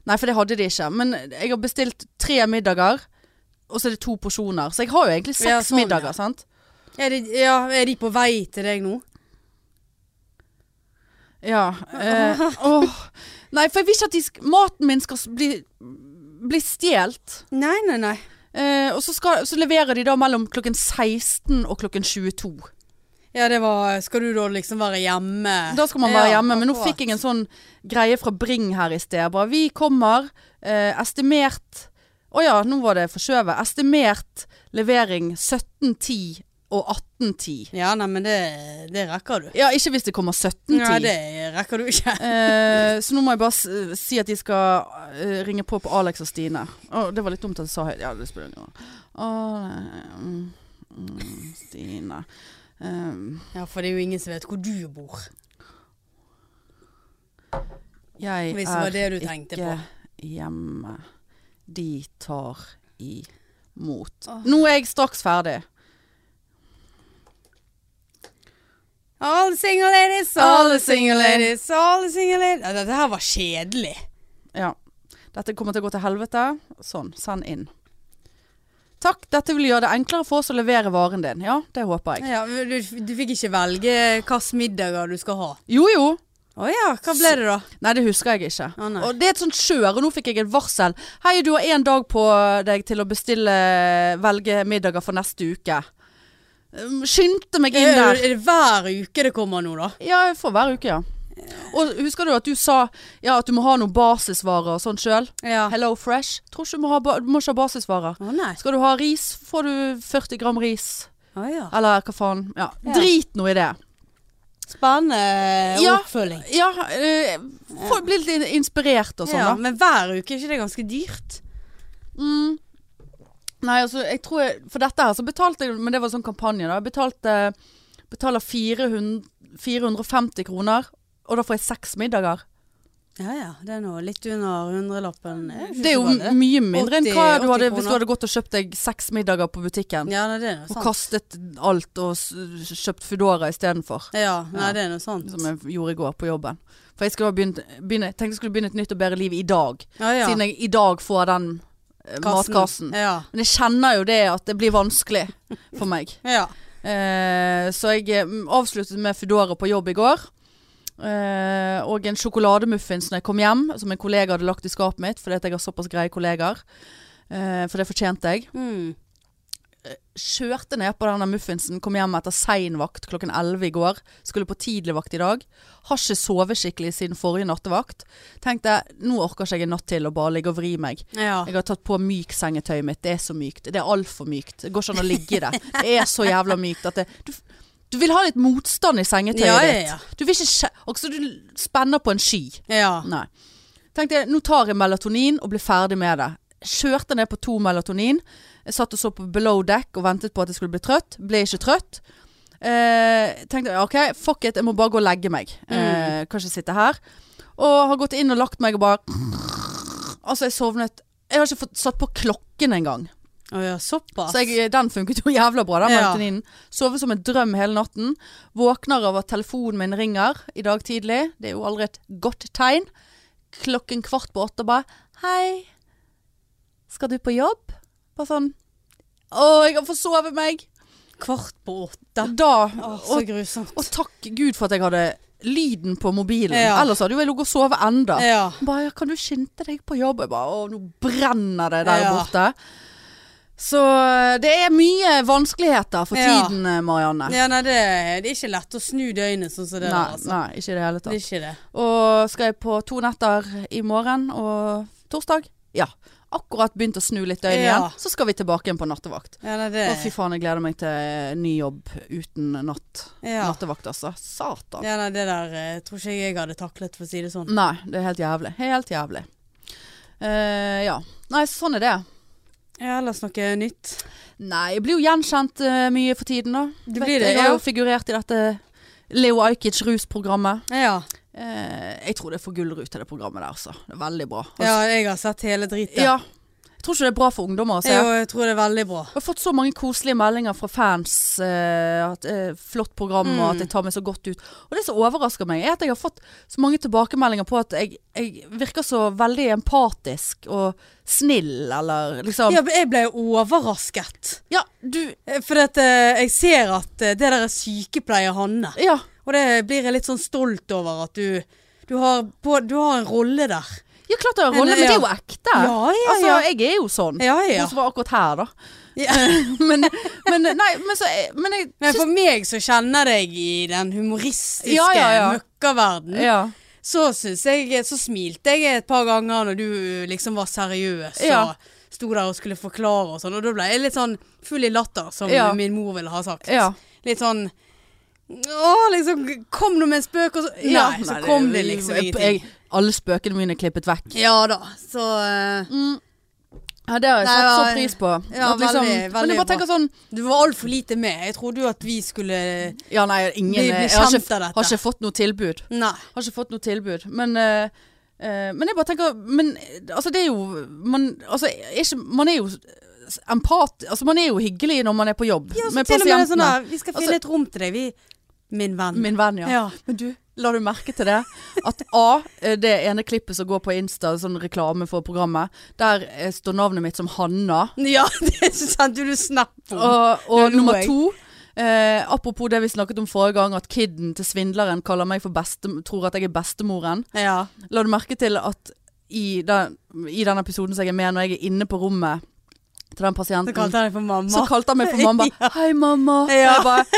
Nei, for det hadde de ikke. Men jeg har bestilt tre middager, og så er det to porsjoner. Så jeg har jo egentlig seks Ja, sånn, ja. middager, sant? Er de, ja, er de på vei til deg nå? Ja. Eh, åh. Nei, for jeg vil ikke at de sk maten min skal s- bli, bli stjålet. Nei, nei, nei. Eh, og så, skal, så leverer de da mellom klokken 16 og klokken 22. Ja, det var Skal du da liksom være hjemme? Da skal man være Ja, hjemme. Men nå akkurat. fikk jeg en sånn greie fra Bring her i sted. Jeg Bare, vi kommer. Eh, estimert Å ja, nå var det forskjøvet. Estimert levering 17.10 og 18.10. Ja, nei, men det, det rekker du. Ja, ikke hvis det kommer 17 Ja, til. det rekker du ikke. Eh, så nå må jeg bare s- si at de skal eh, ringe på på Alex og Stine. Å, det var litt dumt at jeg sa høyt. Ja, det spiller ingen rolle. Å, nei, mm, Mm, Stine. Ehm, Ja, for det er jo ingen som vet hvor du bor. jeg Hvis det var det du er tenkte ikke på. hjemme. De tar imot. Nå er jeg straks ferdig. All the single ladies, all the single ladies, all the single ladies. Ja, dette her var kjedelig. Ja. Dette kommer til å gå til helvete. Sånn, send inn. Takk, dette vil gjøre det enklere for oss å levere varen din. Ja, det håper jeg. Ja, men du, du fikk ikke velge hvilke middager du skal ha. Jo jo. Å ja, hva ble det da? Nei, det husker jeg ikke. Å, nei. og det er et sånt skjør, og nå fikk jeg et varsel. Hei, du har én dag på deg til å bestille velge middager for neste uke. Um, Skyndte meg inn Er, der. er det hver uke det kommer nå, da? Ja, for hver uke, ja. Og husker du at du sa ja, at du må ha noen basisvarer og sånn sjøl? Ja. Hello Fresh. Tror ikke du må, ha, ba- du må ikke ha basisvarer. Å nei. Skal du ha ris, får du 40 gram ris. Å ja. Eller hva faen. Ja. Ja. Drit nå i det. Spennende Ja. oppfølging. Ja, eh, få bli litt inspirert og sånn, ja, da. men hver uke, er ikke det ganske dyrt? Mm. Nei, altså, jeg tror jeg, For dette her så betalte jeg Men det var sånn kampanje, da. Jeg betalte betaler 400, 450 kroner, og da får jeg seks middager. Ja ja, det er nå litt under hundrelappen. Jeg synes Det er jo var det. mye mindre enn 80, hva du hadde 80 hvis du kroner. hadde gått og kjøpt deg seks middager på butikken. Ja, nei, det er noe og sant. kastet alt og s- kjøpt Foodora istedenfor. Ja, nei, Ja. det er noe sant. Som jeg gjorde i går på jobben. For jeg skulle ha begynt, begynne, tenkte jeg skulle begynne et nytt og bedre liv i dag. Ja, ja. Siden jeg i dag får den eh, matkassen. Ja. Men jeg kjenner jo det at det blir vanskelig for meg. ja. Eh, så jeg eh, avsluttet med Foodora på jobb i går. Eh, og en sjokolademuffins når jeg kom hjem, som en kollega hadde lagt i skapet mitt fordi at jeg har såpass greie kollegaer. Eh, for det fortjente jeg. Mm. Kjørte ned på denne muffinsen, kom hjem etter sein vakt klokken 11 i går. Skulle på tidligvakt i dag. Har ikke sovet skikkelig siden forrige nattevakt. Tenkte nå orker ikke jeg en natt til å bare ligge og vri meg. ja. Jeg har tatt på myk sengetøy mitt. Det er så mykt. Det er altfor mykt. Det går ikke an å ligge i det. Det er så jævla mykt at det du, du vil ha litt motstand i sengetøyet Ja, ja, ja. ditt. Du vil ikke skje- Altså, du spenner på en sky. Ja. Nei. Tenkte jeg, nå tar jeg melatonin og blir ferdig med det. Kjørte ned på to melatonin. Jeg satt og så på Below Deck og ventet på at jeg skulle bli trøtt. Ble ikke trøtt. Eh, tenkte jeg, ok, fuck it, jeg må bare gå og legge meg. Eh, kan ikke sitte her. Og har gått inn og lagt meg og bare Altså, jeg sovnet Jeg har ikke fått satt på klokken engang. Å ja, såpass. Så jeg, den funket jo jævla bra, den Ja. melatoninen. Sovet som en drøm hele natten. Våkner av at telefonen min ringer i dag tidlig. Det er jo aldri et godt tegn. Klokken kvart på åtte bare Hei, skal du på jobb? Bare sånn Å, jeg har forsovet meg. Kvart på åtte. Da Å, så og, grusomt. og takk Gud for at jeg hadde lyden på mobilen. Ja. Ellers hadde jo jeg ligget og sovet enda. Ja. Han bare, ja, kan du skynde deg på jobb? Jeg bare, å, nå brenner det der Ja. borte. Så eh, det er mye vanskeligheter for Ja. tiden, eh, Marianne. ja, nei, det, det er ikke lett å snu døgnet sånn som det nei, der, altså. nei, ikke i det hele Det tatt. er ikke det. Og skal jeg på to netter i morgen og torsdag? Ja. Akkurat begynt å snu litt døgn Ja. igjen, så skal vi tilbake igjen på nattevakt. Ja, nei, det Å, fy faen, jeg gleder meg til eh, ny jobb uten natt. Ja. nattevakt, altså. Satan. Ja, nei, det der eh, tror ikke jeg jeg hadde taklet, for å si det sånn. Nei, det er helt jævlig. Helt jævlig. Eh, ja. Nei, sånn er det. Ja, ellers noe nytt. Nei, jeg blir jo gjenkjent eh, mye for tiden da. Det Vet blir det, jeg har ja. jo figurert i dette Leo Ajkic rusprogrammet. Ja. Eh, jeg tror det er for gullrute det programmet der, altså. Det er veldig bra. Altså, ja, jeg har sett hele dritet. ja. Jeg tror ikke det er bra for ungdommer å se. Jeg, og jeg tror det er veldig bra. Jeg har fått så mange koselige meldinger fra fans. eh, at, eh, flott program, og Mm. at jeg tar meg så godt ut. Og det som overrasker meg, er at jeg har fått så mange tilbakemeldinger på at jeg, jeg virker så veldig empatisk og snill, eller liksom Ja, men jeg ble overrasket. Ja, du Eh, For at, eh, jeg ser at eh, det der er sykepleier Hanne. Ja. Og det blir jeg litt sånn stolt over at du, du, har, på, du har en rolle der. Ja, klart det er en rolle, Men, men det er jo ja. ekte. Ja, ja, altså, ja. jeg er jo sånn. Ja, ja. Hun som var akkurat her, da. Ja. men, men, nei, men, så, eh, men jeg Men syns- for meg som kjenner deg i den humoristiske Ja, ja, ja. møkkaverdenen, ja. så syns jeg Så smilte jeg et par ganger når du liksom var seriøs Ja. og sto der og skulle forklare og sånn, og da ble jeg litt sånn full i latter, som Ja. min mor ville ha sagt. Ja. Litt sånn Å, liksom Kom nå med en spøk, og så Nei, ja. så Nei, kom det liksom jeg- ingenting. Mm. jeg- Alle spøkene mine er klippet vekk. Ja da, så eh, Ja, det har jeg Nei, satt så ja, pris på. ja, At liksom, veldig, men veldig jeg bare bra. tenker sånn Du var altfor lite med. Jeg trodde jo at vi skulle Ja, nei, ingen Bli- bli Jeg kjent har av ikke, dette. har ikke fått noe tilbud. Nei. Har ikke fått noe tilbud. Men, eh, eh, men jeg bare tenker Men eh, altså, det er jo Man, altså, er ikke, man er jo s- empat... Altså, man er jo hyggelig når man er på jobb Ja, så med til og med det er sånn pasientene. der, vi skal finne Altså- et rom til deg, vi. Min venn. Min venn, ja. Ja. Men du, la du merke til det? At A, eh, det ene klippet som går på Insta, sånn reklame for programmet, der eh, står navnet mitt som Hanna. Ja, det sendte du snap om. Og, Oh. Det og lo nummer jeg. to eh, apropos det vi snakket om forrige gang, at kidden til svindleren kaller meg for beste, tror at jeg er bestemoren. Ja. La du merke til at i den, i den episoden som jeg er med, når jeg er inne på rommet til den Så pasienten kalte han deg for så mamma. kalte han meg for mamma. Ja. Hei, mamma. Ja. Og jeg bare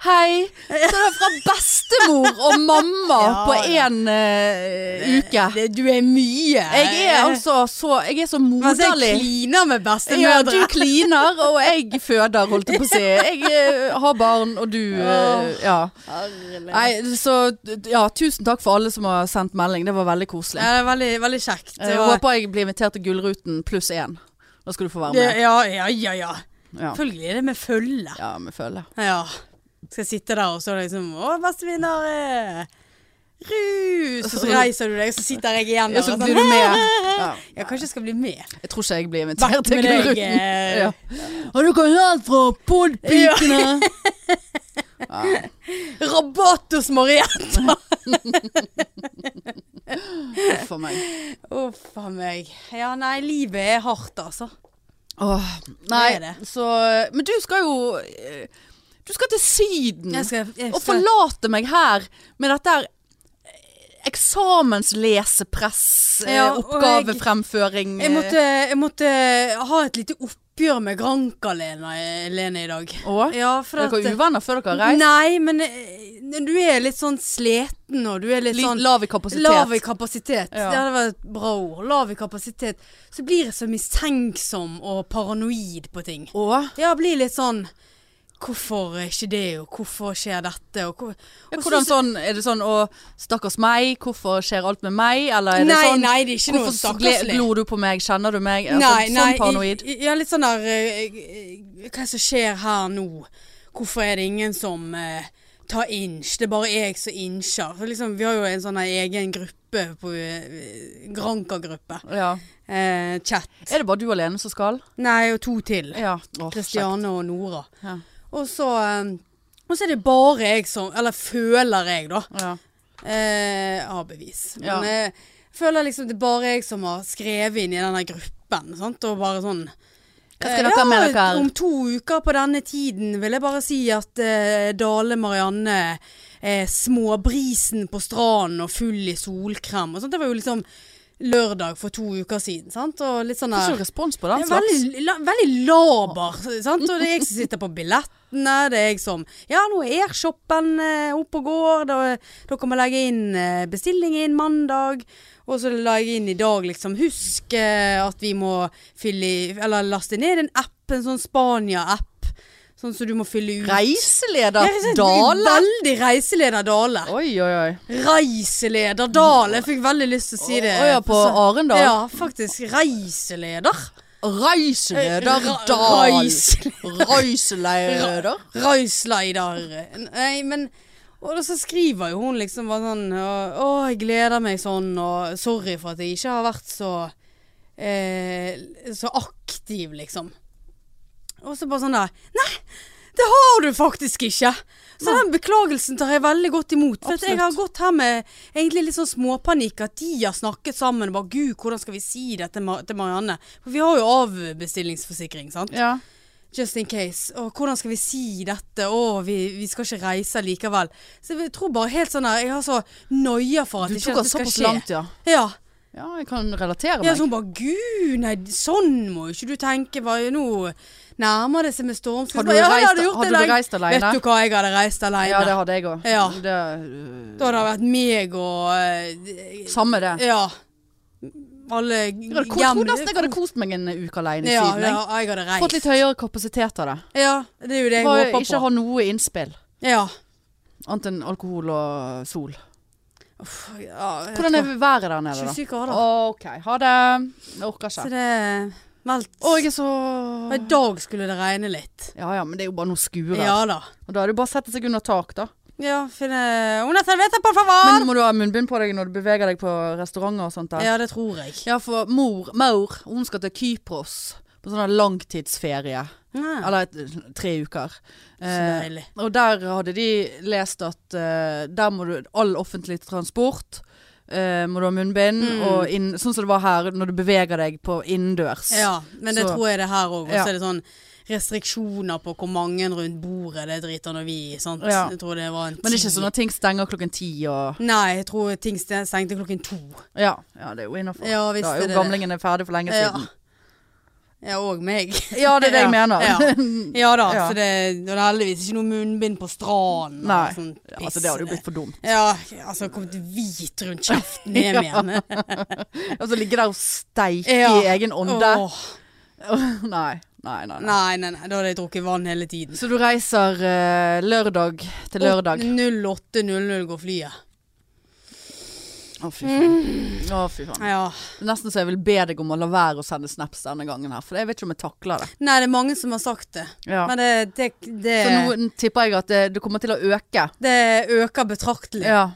Hei. Så det er fra bestemor og mamma Ja, på ja. én eh, uke. Det, du er mye. Jeg er altså så Jeg er så Mens jeg moderlig. kliner med Ja, bestemødre. du kliner, og jeg føder, holdt jeg på å si. Jeg eh, har barn, og du eh, Ja. Nei, Nei, så ja, tusen takk for alle som har sendt melding. Det var veldig koselig. ja, det er veldig, veldig kjekt. Jeg og- håper jeg blir invitert til Gullruten pluss én. Da skal du få være det, med. ja, ja, ja, ja. Ja, Selvfølgelig er det med følge. ja vi følger. Ja. Skal jeg sitte der og så er det liksom Å, bestevinner eh, Rus! Og så reiser du deg, og så sitter jeg igjen der. Ja, så og sånn, blir du med. Ja. Ja, kanskje jeg skal bli med. Jeg tror ikke jeg blir invitert Vært til med deg, Gullruten. eh, Ja. Og du kan gjøre alt fra podpikene Rabatt hos Mariette! for meg. Uff a meg. Ja, nei, livet er hardt, altså. Åh, Det nei, er det. så Men du skal jo eh, Du skal til Syden. Jeg skal, jeg Å skal, forlate meg her med dette her eh, eksamenslesepress, eh, Ja, og jeg- oppgavefremføring jeg, måtte, jeg måtte eh, ha et lite oppgjør med Granka-Lene Lene i dag. Å? Ja, for Dere at eh, var uvenner før dere har reist? Nei, men eh, du er litt sånn sliten, og du er litt Litt sånn Lav i kapasitet. Lav i kapasitet. Ja. Ja, det var et bra ord. Lav i kapasitet. Så blir jeg så mistenksom og paranoid på ting. Å? Ja, jeg blir litt sånn Hvorfor er ikke det, og hvorfor skjer dette, og hvor Ja, og så- hvordan sånn, er det sånn å Stakkars meg, hvorfor skjer alt med meg? Eller er det Nei, sånn nei, det er ikke noe Hvorfor gl- stakkarslig. glor du på meg? Kjenner du meg? Altså, Nei, sånn nei, paranoid. i- i- Ja, litt sånn der eh, eh, Hva er det som skjer her nå? Hvorfor er det ingen som eh, tar inch? Det er bare jeg som incher. For Liksom, vi har jo en sånn her egen gruppe på eh, Granka-gruppe. Ja. Eh, chat. Er det bare du alene som skal? Nei, og to til. Ja. Åh, kjekt. Kristiane og Nora. Ja. Og så, eh, og så er det bare jeg som Eller føler jeg, da. Ja. Eh, jeg har bevis. Men Ja. eh, jeg føler liksom det er bare jeg som har skrevet inn i denne gruppen. Sant? Og bare sånn Hva skal eh, dere med dere? Om to uker på denne tiden vil jeg bare si at eh, Dale Marianne er småbrisen på stranden og full i solkrem. Og sånt. Det var jo liksom lørdag for to uker siden. Sant? Og litt sånn Får der- ikke respons på den det er slags. veldig, la, veldig laber, sant? Og det er jeg som sitter på billettene, det er jeg som Ja, nå er airshopen eh, oppe og går, da, dere må legge inn eh, bestilling inn mandag. Og så la jeg inn i dag, liksom, husk eh, at vi må fylle i Eller laste ned en app, en sånn Spania-app, sånn som du må fylle ut. Ja, Reiseleder jeg synes det er Dale? Veldig reiseleder Dale. Oi, oi, oi. Reiseleder Dale. Jeg fikk veldig lyst til å si det. Å ja, på Arendal. Ja, faktisk. Reiseleder. Reiseleder Eh, Ra- Dal. reis- Reiseleder. Raisleider. Eh, Nei, men Og da så skriver jo hun liksom bare sånn og, Å, jeg gleder meg sånn, og sorry for at jeg ikke har vært så eh, Så aktiv, liksom. Og så bare sånn der Nei, det har du faktisk ikke! Så den beklagelsen tar jeg veldig godt imot. For at jeg har gått her med egentlig litt sånn småpanikk. At de har snakket sammen og bare Gud, hvordan skal vi si dette til Mar- til Marianne? For vi har jo avbestillingsforsikring, sant? Ja. Just in case. Og hvordan skal vi si dette? Å, vi, vi skal ikke reise likevel. Så jeg tror bare helt sånn her Jeg har så noia for at Du ikke tok dette den skal såpass skje. langt, ja. Ja. Ja, jeg kan ja. relatere meg. Så hun bare Gud, nei, sånn må jo ikke du tenke. Bare nå nærmer det seg med stormskritt. Hadde du ja, jeg reist- hadde gjort hadde det du lenge. reist alene? Vet du hva, jeg hadde reist alene. Ja, det hadde jeg òg. Ja. Da Det, hadde det vært meg og eh, samme det. Jeg Ja. Alle hadde, ko- tror nesten jeg hadde kost meg en uke alene i ja, Syden. ja, jeg. jeg hadde Fått litt reist. høyere kapasitet av det. Ja, det er jo det jeg Bare håper ikke på. ha noe innspill. Ja. Annet enn alkohol og sol. Uff, ja jeg Hvordan tror- er været der nede, da? 27 grader. OK, ha det. Jeg orker Så ikke. det Meldt. Å, jeg er så Og I dag skulle det regne litt. Ja ja, men det er jo bare noe skurer. Ja da. Og da er det jo bare å sette seg under tak, da. Ja, finne Una servietta, por favor! Men må du ha munnbind på deg når du beveger deg på restauranter og sånt der? ja, det tror jeg. Ja, for mor, Maur, hun skal til Kypros på sånn her langtidsferie. Ja. Eller et- tre uker. Eh, Så deilig. og der hadde de lest at eh, der må du all offentlig transport eh, må du ha munnbind, Mm. og inn, sånn som det var her når du beveger deg på innendørs. Ja, men det Så- tror jeg det er her òg. Og Ja. så er det sånn restriksjoner på hvor mange rundt bordet det driter når vi i. Sant? Ja. Jeg tror det var en Men det er ikke ti. sånn at ting stenger klokken ti og Nei, jeg tror ting sten- stengte klokken to. Ja, ja det er jo innafor. Ja, visst da er er det jo gamlingen er ferdig for lenge Ja. siden. Ja, og meg. Ja, det er det jeg Ja, mener. ja. Ja da, Ja. så det, og det er heldigvis ikke noe munnbind på stranden. og Nei. sånn altså, det hadde jo blitt for dumt. Ja, altså kommet hvit rundt kjeften hjem igjen. Altså ligge der og steike Ja. i egen ånde. Åh, Nei, nei, nei. nei. nei, nei, nei, da hadde jeg drukket vann hele tiden. Så du reiser eh, lørdag til lørdag? 08.00 går flyet. Å, fy faen. Å, fy faen. Ja. Det er Mm. Nesten så jeg vil be deg om å la være å sende snaps denne gangen her, for jeg vet ikke om jeg takler det. Nei, det er mange som har sagt det. Men det, det, det, Så nå tipper jeg at eh, det, det kommer til å øke. det øker betraktelig. Ja.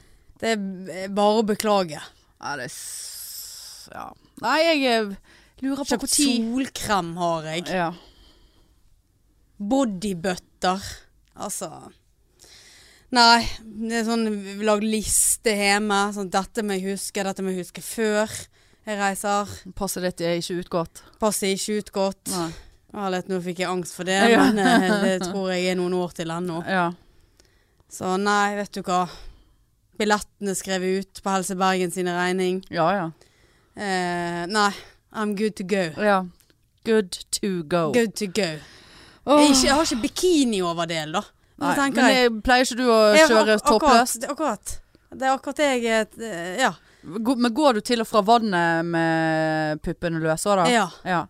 Det er bare å beklage. Nei, det er s- ja. Nei, jeg eh, lurer på Kjøpt hvor tid solkrem har jeg. ja. Bodybutter. Altså Nei, det er sånn lag liste hjemme. Sånn, dette må jeg huske, dette må jeg huske før jeg reiser. Passet ditt er ikke utgått. Passer ikke ut godt. Nei. Ærlighet, nå fikk jeg angst for det, Ja. men eh, det tror jeg er noen år til ennå. Ja. Så nei, vet du hva. Billettene skrevet ut på Helse Bergen sine regning. Ja, ja. Eh, nei, I'm good to go. ja. Good to go. Good to go. Jeg, Åh. er ikke, jeg har ikke bikini-overdel, da. Men Oh. Nei, så tenker men jeg, jeg, pleier ikke du å jeg har kjøre ak- toppløs? Akkurat, det er akkurat. Det er akkurat det jeg eh, Ja. Gå- Men går du til og fra vannet med puppene løse da? ja. Ja.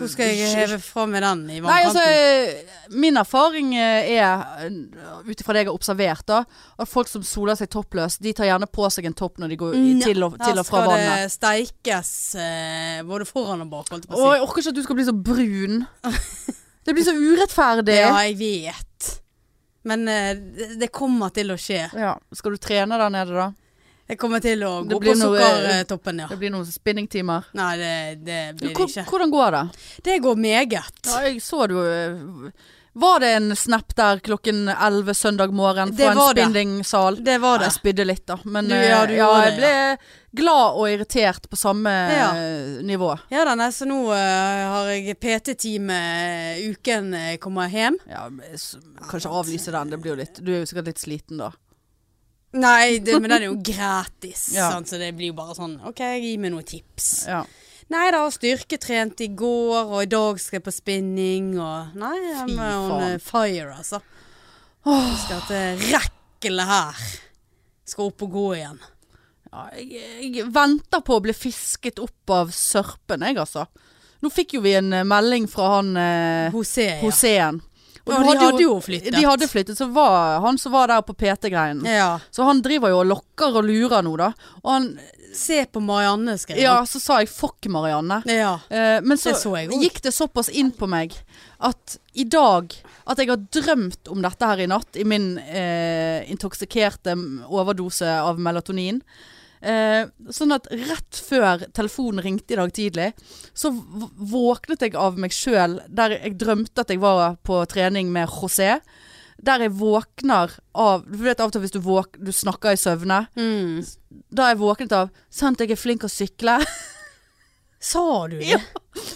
Hvor skal jeg heve fra med den i Nei, altså, vannkanten? min erfaring eh, er, eh, ut ifra det jeg har observert, da, at folk som soler seg toppløs, de tar gjerne på seg en topp når de går i, Nei, mm, til, og, til og fra Her skal vannet. det steikes eh, både foran og bak, holdt jeg på Å, å si. jeg orker ikke at du skal bli så brun. Det blir så urettferdig. Ja, jeg vet. Men eh, det- det kommer til å skje. Ja. Skal du trene der nede, da? Jeg kommer til å Det gå på blir noe- eh, sukkertoppen, ja. Det blir noen spinningtimer. Nei, det, det blir det Hvor- ikke. Hvordan går det? Det går meget. Ja, jeg så du eh, Var det en snap der klokken 11 søndag morgen Det fra en var det. spinningsal? Det var Ja, det. jeg spydde litt, da. Men Eh, Du- eh, ja, ja, du gjorde det, jeg ble glad og irritert på samme Ja. eh, nivå. Ja da, nei, så nå eh, har jeg PT-time uken jeg kommer hjem. Ja, men s- kanskje avlyse den. Det blir jo litt Du er jo sikkert litt sliten da. Nei, det, men den er jo gratis, Ja. sant? så det blir jo bare sånn OK, gi meg noen tips. Ja. Nei da, styrketrent i går, og i dag skal jeg på spinning, og Nei, jeg Fy er on faen. eh, fire, altså. Jeg skal til rekkelet her. Skal opp og gå igjen. jeg, jeg venter på å bli fisket opp av sørpen, jeg, altså. Nå fikk jo vi en eh, melding fra han eh, José, ja. Hoseen. Og Ja, du de hadde jo flyttet. De hadde flyttet, så var han som var der på PT-greinen. ja. Så han driver jo og lokker og lurer nå, da. Og han Se på Marianne, skrev Ja, så sa jeg fuck Marianne. han. Ja. Eh, men så, Det så jeg også. gikk det såpass inn på meg at i dag At jeg har drømt om dette her i natt, i min eh, intoksikerte m- overdose av melatonin. Eh, sånn at rett før telefonen ringte i dag tidlig, så v- våknet jeg av meg sjøl der jeg drømte at jeg var på trening med José. Der jeg våkner av Du vet av og til hvis du, våk, du snakker i søvne. Mm. Da jeg våknet av 'Sant, jeg er flink å sykle'. Sa du det? Ja.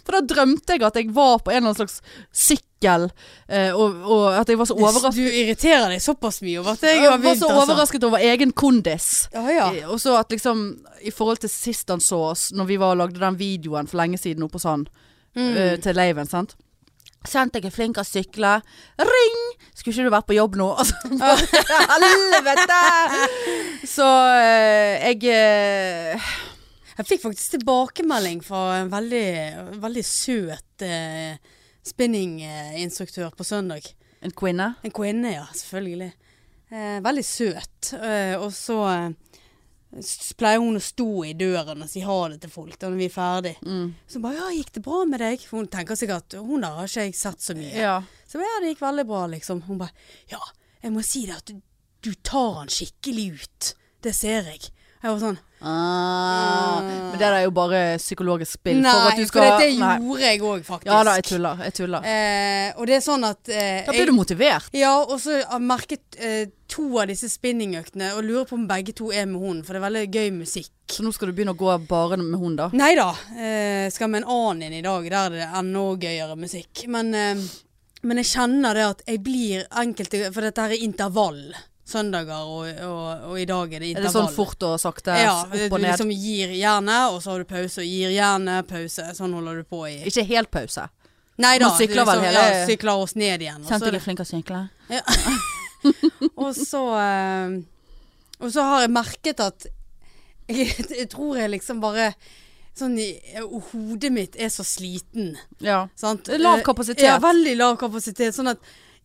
For da drømte jeg at jeg var på en eller annen slags sykkel, eh, og, og at jeg var så overrasket. Du irriterer deg såpass mye over at jeg Jeg har var så begynt, overrasket over egen kondis. Ja, ja. Eh, Og så at liksom I forhold til sist han så oss, når vi var og lagde den videoen for lenge siden oppe hos han, eh, til Leiven, sant. Sant jeg er flink til å sykle. Ring! Skulle ikke du vært på jobb nå? Altså, bare, helvete! Så eh, jeg eh, Jeg fikk faktisk tilbakemelding fra en veldig, veldig søt eh, spinninginstruktør på søndag. En kvinne? En kvinne, ja, selvfølgelig. Eh, veldig søt. Eh, og så eh, s- pleier hun å stå i døren og si ha det til folk da når vi er ferdig. Mm. Så bare 'ja, gikk det bra med deg?' For hun tenker sikkert 'hun der har ikke jeg sett så mye'. Ja. Så jeg bare, ja, det gikk veldig bra, liksom. Hun bare Ja, jeg må si det at du, du tar han skikkelig ut. Det ser jeg. Jeg var sånn Ah, men det der er jo bare psykologisk Mm. spill. Nei, for at du skal dette Nei. gjorde jeg òg, faktisk. Ja da, jeg tuller. Jeg tuller. Eh, og det er sånn at eh, Da blir du motivert. jeg, Ja, og så har jeg merket eh, to av disse spinningøktene, og lurer på om begge to er med hun, for det er veldig gøy musikk. Så nå skal du begynne å gå bare med hun, da. Nei da. Eh, skal med en annen inn i dag, der er det enda gøyere musikk. Men, eh, men jeg kjenner det at jeg blir enkelte For dette her er intervall. Søndager og, og, og i dag er det Er det intervall. sånn fort og sakte? ja, opp du og ned? liksom gir gjerne, og så har du pause, og gir gjerne, pause. Sånn holder du på i Ikke helt pause. Nei da. man sykler du liksom, vel hele- Ja, sykler oss ned igjen. Og Kjente så, jeg er flink til å sykle? og så, eh, og så har jeg merket at jeg, jeg tror jeg liksom bare Sånn i- Hodet mitt er så sliten. Ja. Sant? Det er lav Eh, kapasitet. Ja, veldig lav kapasitet. Sånn at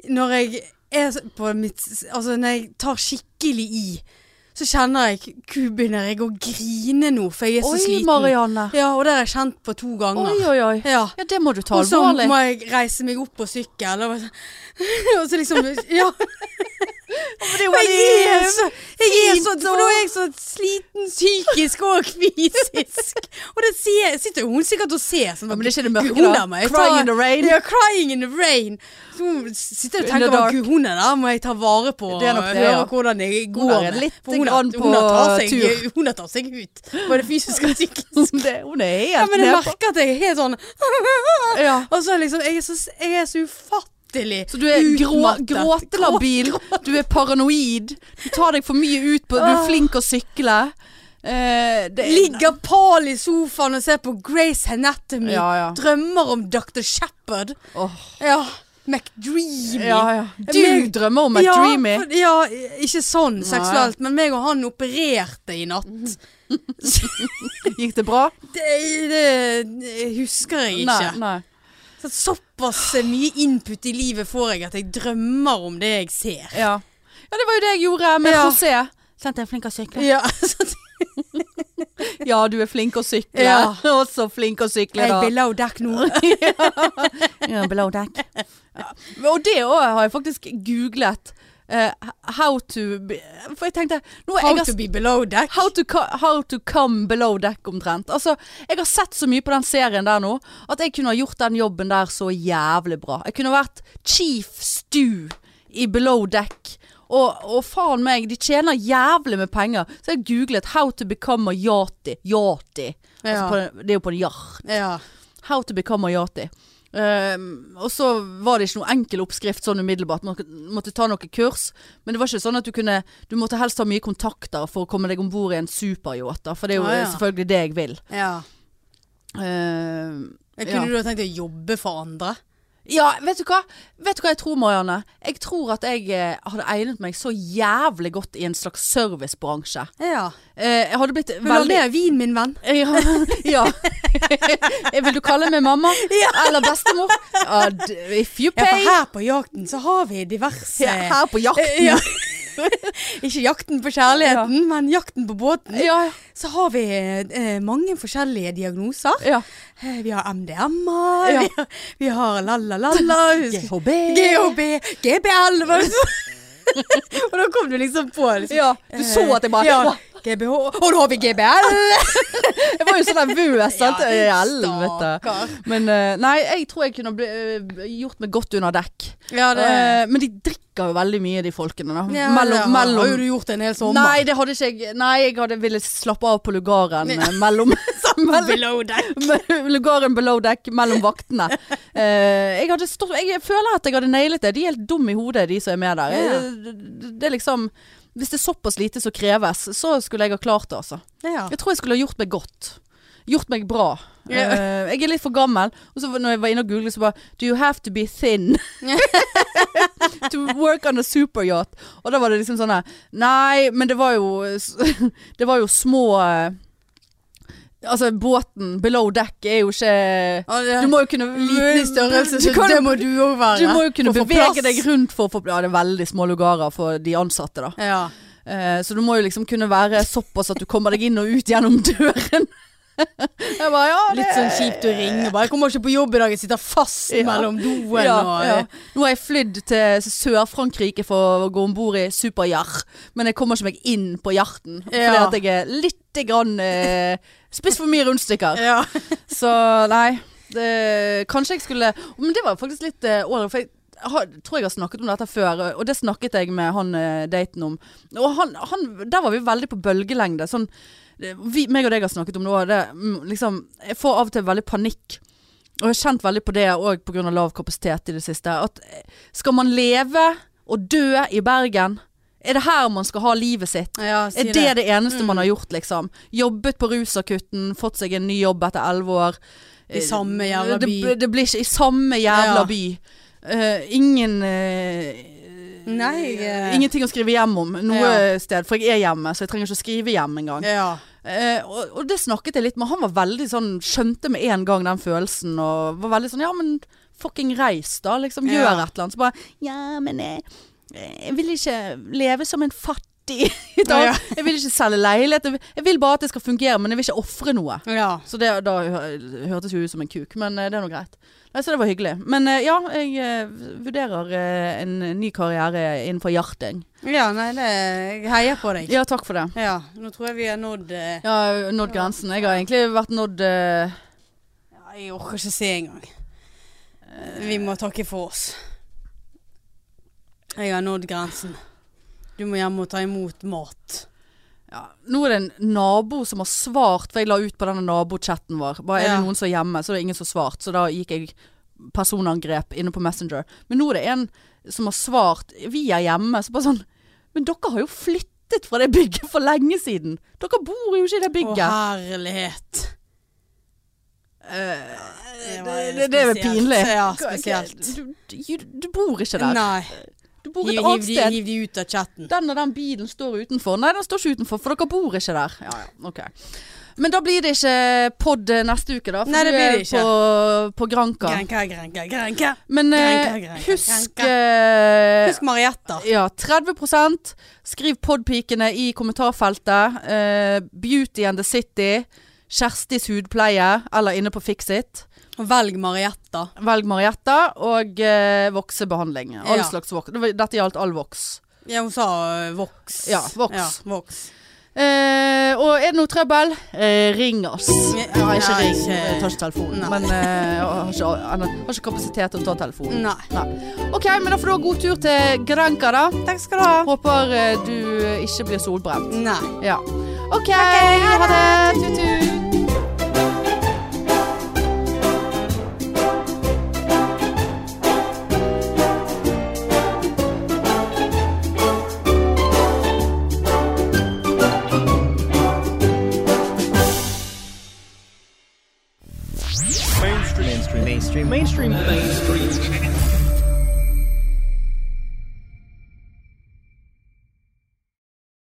når jeg er så- på mitt Altså når jeg tar skikkelig i, så kjenner jeg Gud, begynner jeg å grine nå, for jeg er så Oi, sliten. Marianne. Ja, og det har jeg kjent på to ganger. Oi, oi, oi. Ja. Ja, det må du ta Og så alvorlig. må jeg reise meg opp på sykkel, og, bare så- og så liksom Ja. Jeg er så, jeg er så Fint, For da er jeg så sliten psykisk og fysisk. Og det ser, sitter jo hun sikkert og ser. Sånn, Ja, men det er ikke det mørke, Gud, hun da. der må jeg Crying ta- in the rain. Ja, crying in the rain. Så hun sitter og In tenker the på dark. Gud, hun er der, må jeg ta vare på. Det er nok og det, høre ja. hvordan jeg går. Hun er med. litt For hun, har- grann på hun har tatt seg, tur. Hun har tatt seg ut. Både fysisk og psykisk. Det- Hun er helt Ja, men jeg ned på- merker at jeg er helt sånn Ja. Og så er liksom, jeg er så, jeg er så ufattelig Så du er grå, utmattet. gråtelabil, du er paranoid, du tar deg for mye ut på Du er flink å sykle. Eh, det er- Ligger pal i sofaen og ser på Grace Anatomy. Ja, ja. Drømmer om Dr. Shepherd. Åh, Ja. McDreamy. ja, ja. Du- Du drømmer om et Ja, dreamy. for- Ja, ikke sånn seksuelt, men meg og han opererte i natt. Gikk det bra? Det, det husker jeg Nei, ikke. nei. Så såpass mye input i livet får jeg at jeg drømmer om det jeg ser. Ja. ja, det var jo det jeg gjorde med Ja. José. Sant, jeg er flink å sykle. Ja, så Ja, du er flink å sykle. Ja. Også flink å sykle, jeg da. below deck nå. Ja, below deck. Ja. Og det òg har jeg faktisk googlet. eh, how to be, For jeg tenkte nå er jeg How har to be below deck. How to, co- how to come below deck omtrent. Altså, jeg har sett så mye på den serien der nå, at jeg kunne ha gjort den jobben der så jævlig bra. Jeg kunne vært chief stew i below deck. Og, og faen meg, de tjener jævlig med penger. Så jeg googlet 'how to become a yachty'. Yachty. Altså Ja. på, en- det er jo på en yacht. Ja. How to become a yachty. Ehm, og så var det ikke noe enkel oppskrift sånn umiddelbart. Man måtte ta noen kurs. Men det var ikke sånn at du kunne Du måtte helst ha mye kontakter for å komme deg om bord i en superyacht. da, For det er jo Ah, ja. selvfølgelig det jeg vil. ja. Ehm, Kunne Ja. du ha tenkt å jobbe for andre? ja, vet du hva? Vet du hva jeg tror, Marianne? Jeg tror at jeg eh, hadde egnet meg så jævlig godt i en slags servicebransje. Ja. Eh, jeg hadde blitt Vil du ha veldig mer vin, min venn? Ja. ja. Vil du kalle meg mamma? Eller bestemor? Ja, d- if you Ja, pay. for her på jakten så har vi diverse eh, Ja, her på jakten. Ja. Ikke jakten på kjærligheten, men jakten på båten. Ja, Så har vi eh, mange forskjellige diagnoser. ja. Eh, vi har MDMA, Ja. vi har, vi har la-la-la-la GHB. GHB, GBL hva er det så- Og da kom du liksom på liksom. Ja, du så at jeg bare ja, Åh, GBH Og nå har vi GBL! Jeg var jo så nervøs, sant? Ja, I helvete. stakkar. Men eh, nei, jeg tror jeg kunne bli, eh, gjort meg godt under dekk. Ja, det Eh, men de drikker jo veldig mye, de folkene. Da. ja, det mellom har- mellom Har jo du gjort en hel sommer? Nei, det hadde ikke jeg. Nei, jeg hadde ville slappe av på lugaren eh, mellom mellom- Below deck. Lugaren below deck mellom vaktene. Eh, jeg, hadde stått, jeg føler at jeg hadde nailet det. De er helt dumme i hodet, de som er med der. Ja. Eh, Det er liksom Hvis det er såpass lite som kreves, så skulle jeg ha klart det, altså. Ja. Jeg tror jeg skulle ha gjort meg godt. Gjort meg bra. Ja. Eh, jeg er litt for gammel. Og så når jeg var inne og googlet, så bare Do you have to be thin? to work on a superyacht. Og da var det liksom sånn her Nei, men det var jo Det var jo små eh, Altså, båten below deck er jo ikke Ja, det- Du må jo kunne liten i størrelse, så du kan, det må du òg være. du må jo kunne For å få bevege plass. deg rundt for å få Ja, det er veldig små lugarer for de ansatte, da. Ja. Eh, Eh, så du må jo liksom kunne være såpass at du kommer deg inn og ut gjennom døren. jeg bare, ja, det Litt sånn kjipt å ringe bare. Jeg kommer ikke på jobb i dag, jeg sitter fast Ja. mellom doen ja, og ja. Nå har jeg flydd til Sør-Frankrike for å gå om bord i Super-Jar, men jeg kommer ikke meg inn på Jarten. Fordi Ja. at jeg er litt grann eh, Spist for mye rundstykker. Ja. Så nei. Det, kanskje jeg skulle Men det var faktisk litt eh, ålreit, for jeg har, tror jeg har snakket om dette før, og det snakket jeg med han eh, daten om. Og han, han Der var vi veldig på bølgelengde. Sånn det- vi, meg og deg har snakket om det òg. Liksom, jeg får av og til veldig panikk. Og jeg har kjent veldig på det òg pga. lav kapasitet i det siste. At eh, skal man leve og dø i Bergen? Er det her man skal ha livet sitt? ja si Mm. Er det det eneste man har gjort, liksom? Jobbet på rusakutten, fått seg en ny jobb etter elleve år. I samme jævla Det- by. Det, det blir ikke i samme jævla Ja. by. Eh, ingen eh, Nei, eh. Ingenting å skrive hjem om noe Ja. sted, for jeg er hjemme, så jeg trenger ikke å skrive hjem engang. Ja. Eh, og, og det snakket jeg litt med. Han var veldig sånn Skjønte med en gang den følelsen og var veldig sånn Ja, men fucking reis, da. Liksom gjør Ja. et eller annet. Så bare Ja, men jeg, jeg vil ikke leve som en fattig. da. Ja, ja. Jeg vil ikke selge leilighet. Jeg vil- Jeg vil bare at det skal fungere, men jeg vil ikke ofre noe. ja. Så det da hø- hørtes jo ut som en kuk, men eh, det er nå greit. Nei, så det var hyggelig. Men eh, ja, jeg eh, vurderer eh, en ny karriere innenfor hjarting. Ja, nei, det, jeg heier på deg. Ja, takk for det. Ja, nå tror jeg vi har nådd eh, Jeg har nådd grensen. Jeg har egentlig vært nådd eh, ja, Jeg orker ikke se engang. Eh, Vi må takke for oss. Jeg har nådd grensen. Du må hjem og ta imot mat. ja, Nå er det en nabo som har svart, for jeg la ut på denne nabochatten vår. Bare, er Ja. det noen som er hjemme? Så er det ingen som har svart. Så da gikk jeg personangrep inne på Messenger. Men nå er det en som har svart. Vi er hjemme. Så bare sånn Men dere har jo flyttet fra det bygget for lenge siden. Dere bor jo ikke i det Å, bygget. herlighet. Eh, det, var det, det er jo spesielt. pinlig. Ja, spesielt. Du, du, du bor ikke der. Nei. Du bor et Hiv, hiv, annet de, sted. hiv de ut av chatten. den og den bilen står utenfor. Nei, den står ikke utenfor, for dere bor ikke der. Ja, ja, ok. Men da blir det ikke pod neste uke, da. For Nei, det du blir er det ikke. På, på Granka. Grenka, grenka, grenka. Men eh, Granka, Granka, husk Granka. eh, Husk Marietta. ja, 30 Skriv podpikene i kommentarfeltet. Eh, Beauty and the City. Kjerstis hudpleie, eller inne på Fixit. Og velg Marietta. Velg Marietta og eh, voksebehandling. All Ja. slags voks. Dette gjaldt all voks. Ja, hun sa eh, Vox. Ja, Vox. Ja, Vox. Eh, og er det noe trøbbel, eh, ring oss. Ja, Nei, ikke nei, ring. ikke- Jeg tar ikke telefonen. Nei. Men eh, jeg har, ikke, jeg har ikke kapasitet til å ta telefonen. Nei. Nei. OK, men da får du ha god tur til Granca, da. Takk skal du ha. Håper eh, du ikke blir solbrent. Nei. Ja. OK, ha det. Tut-tut. mainstream mainstream mainstream mainstream mainstream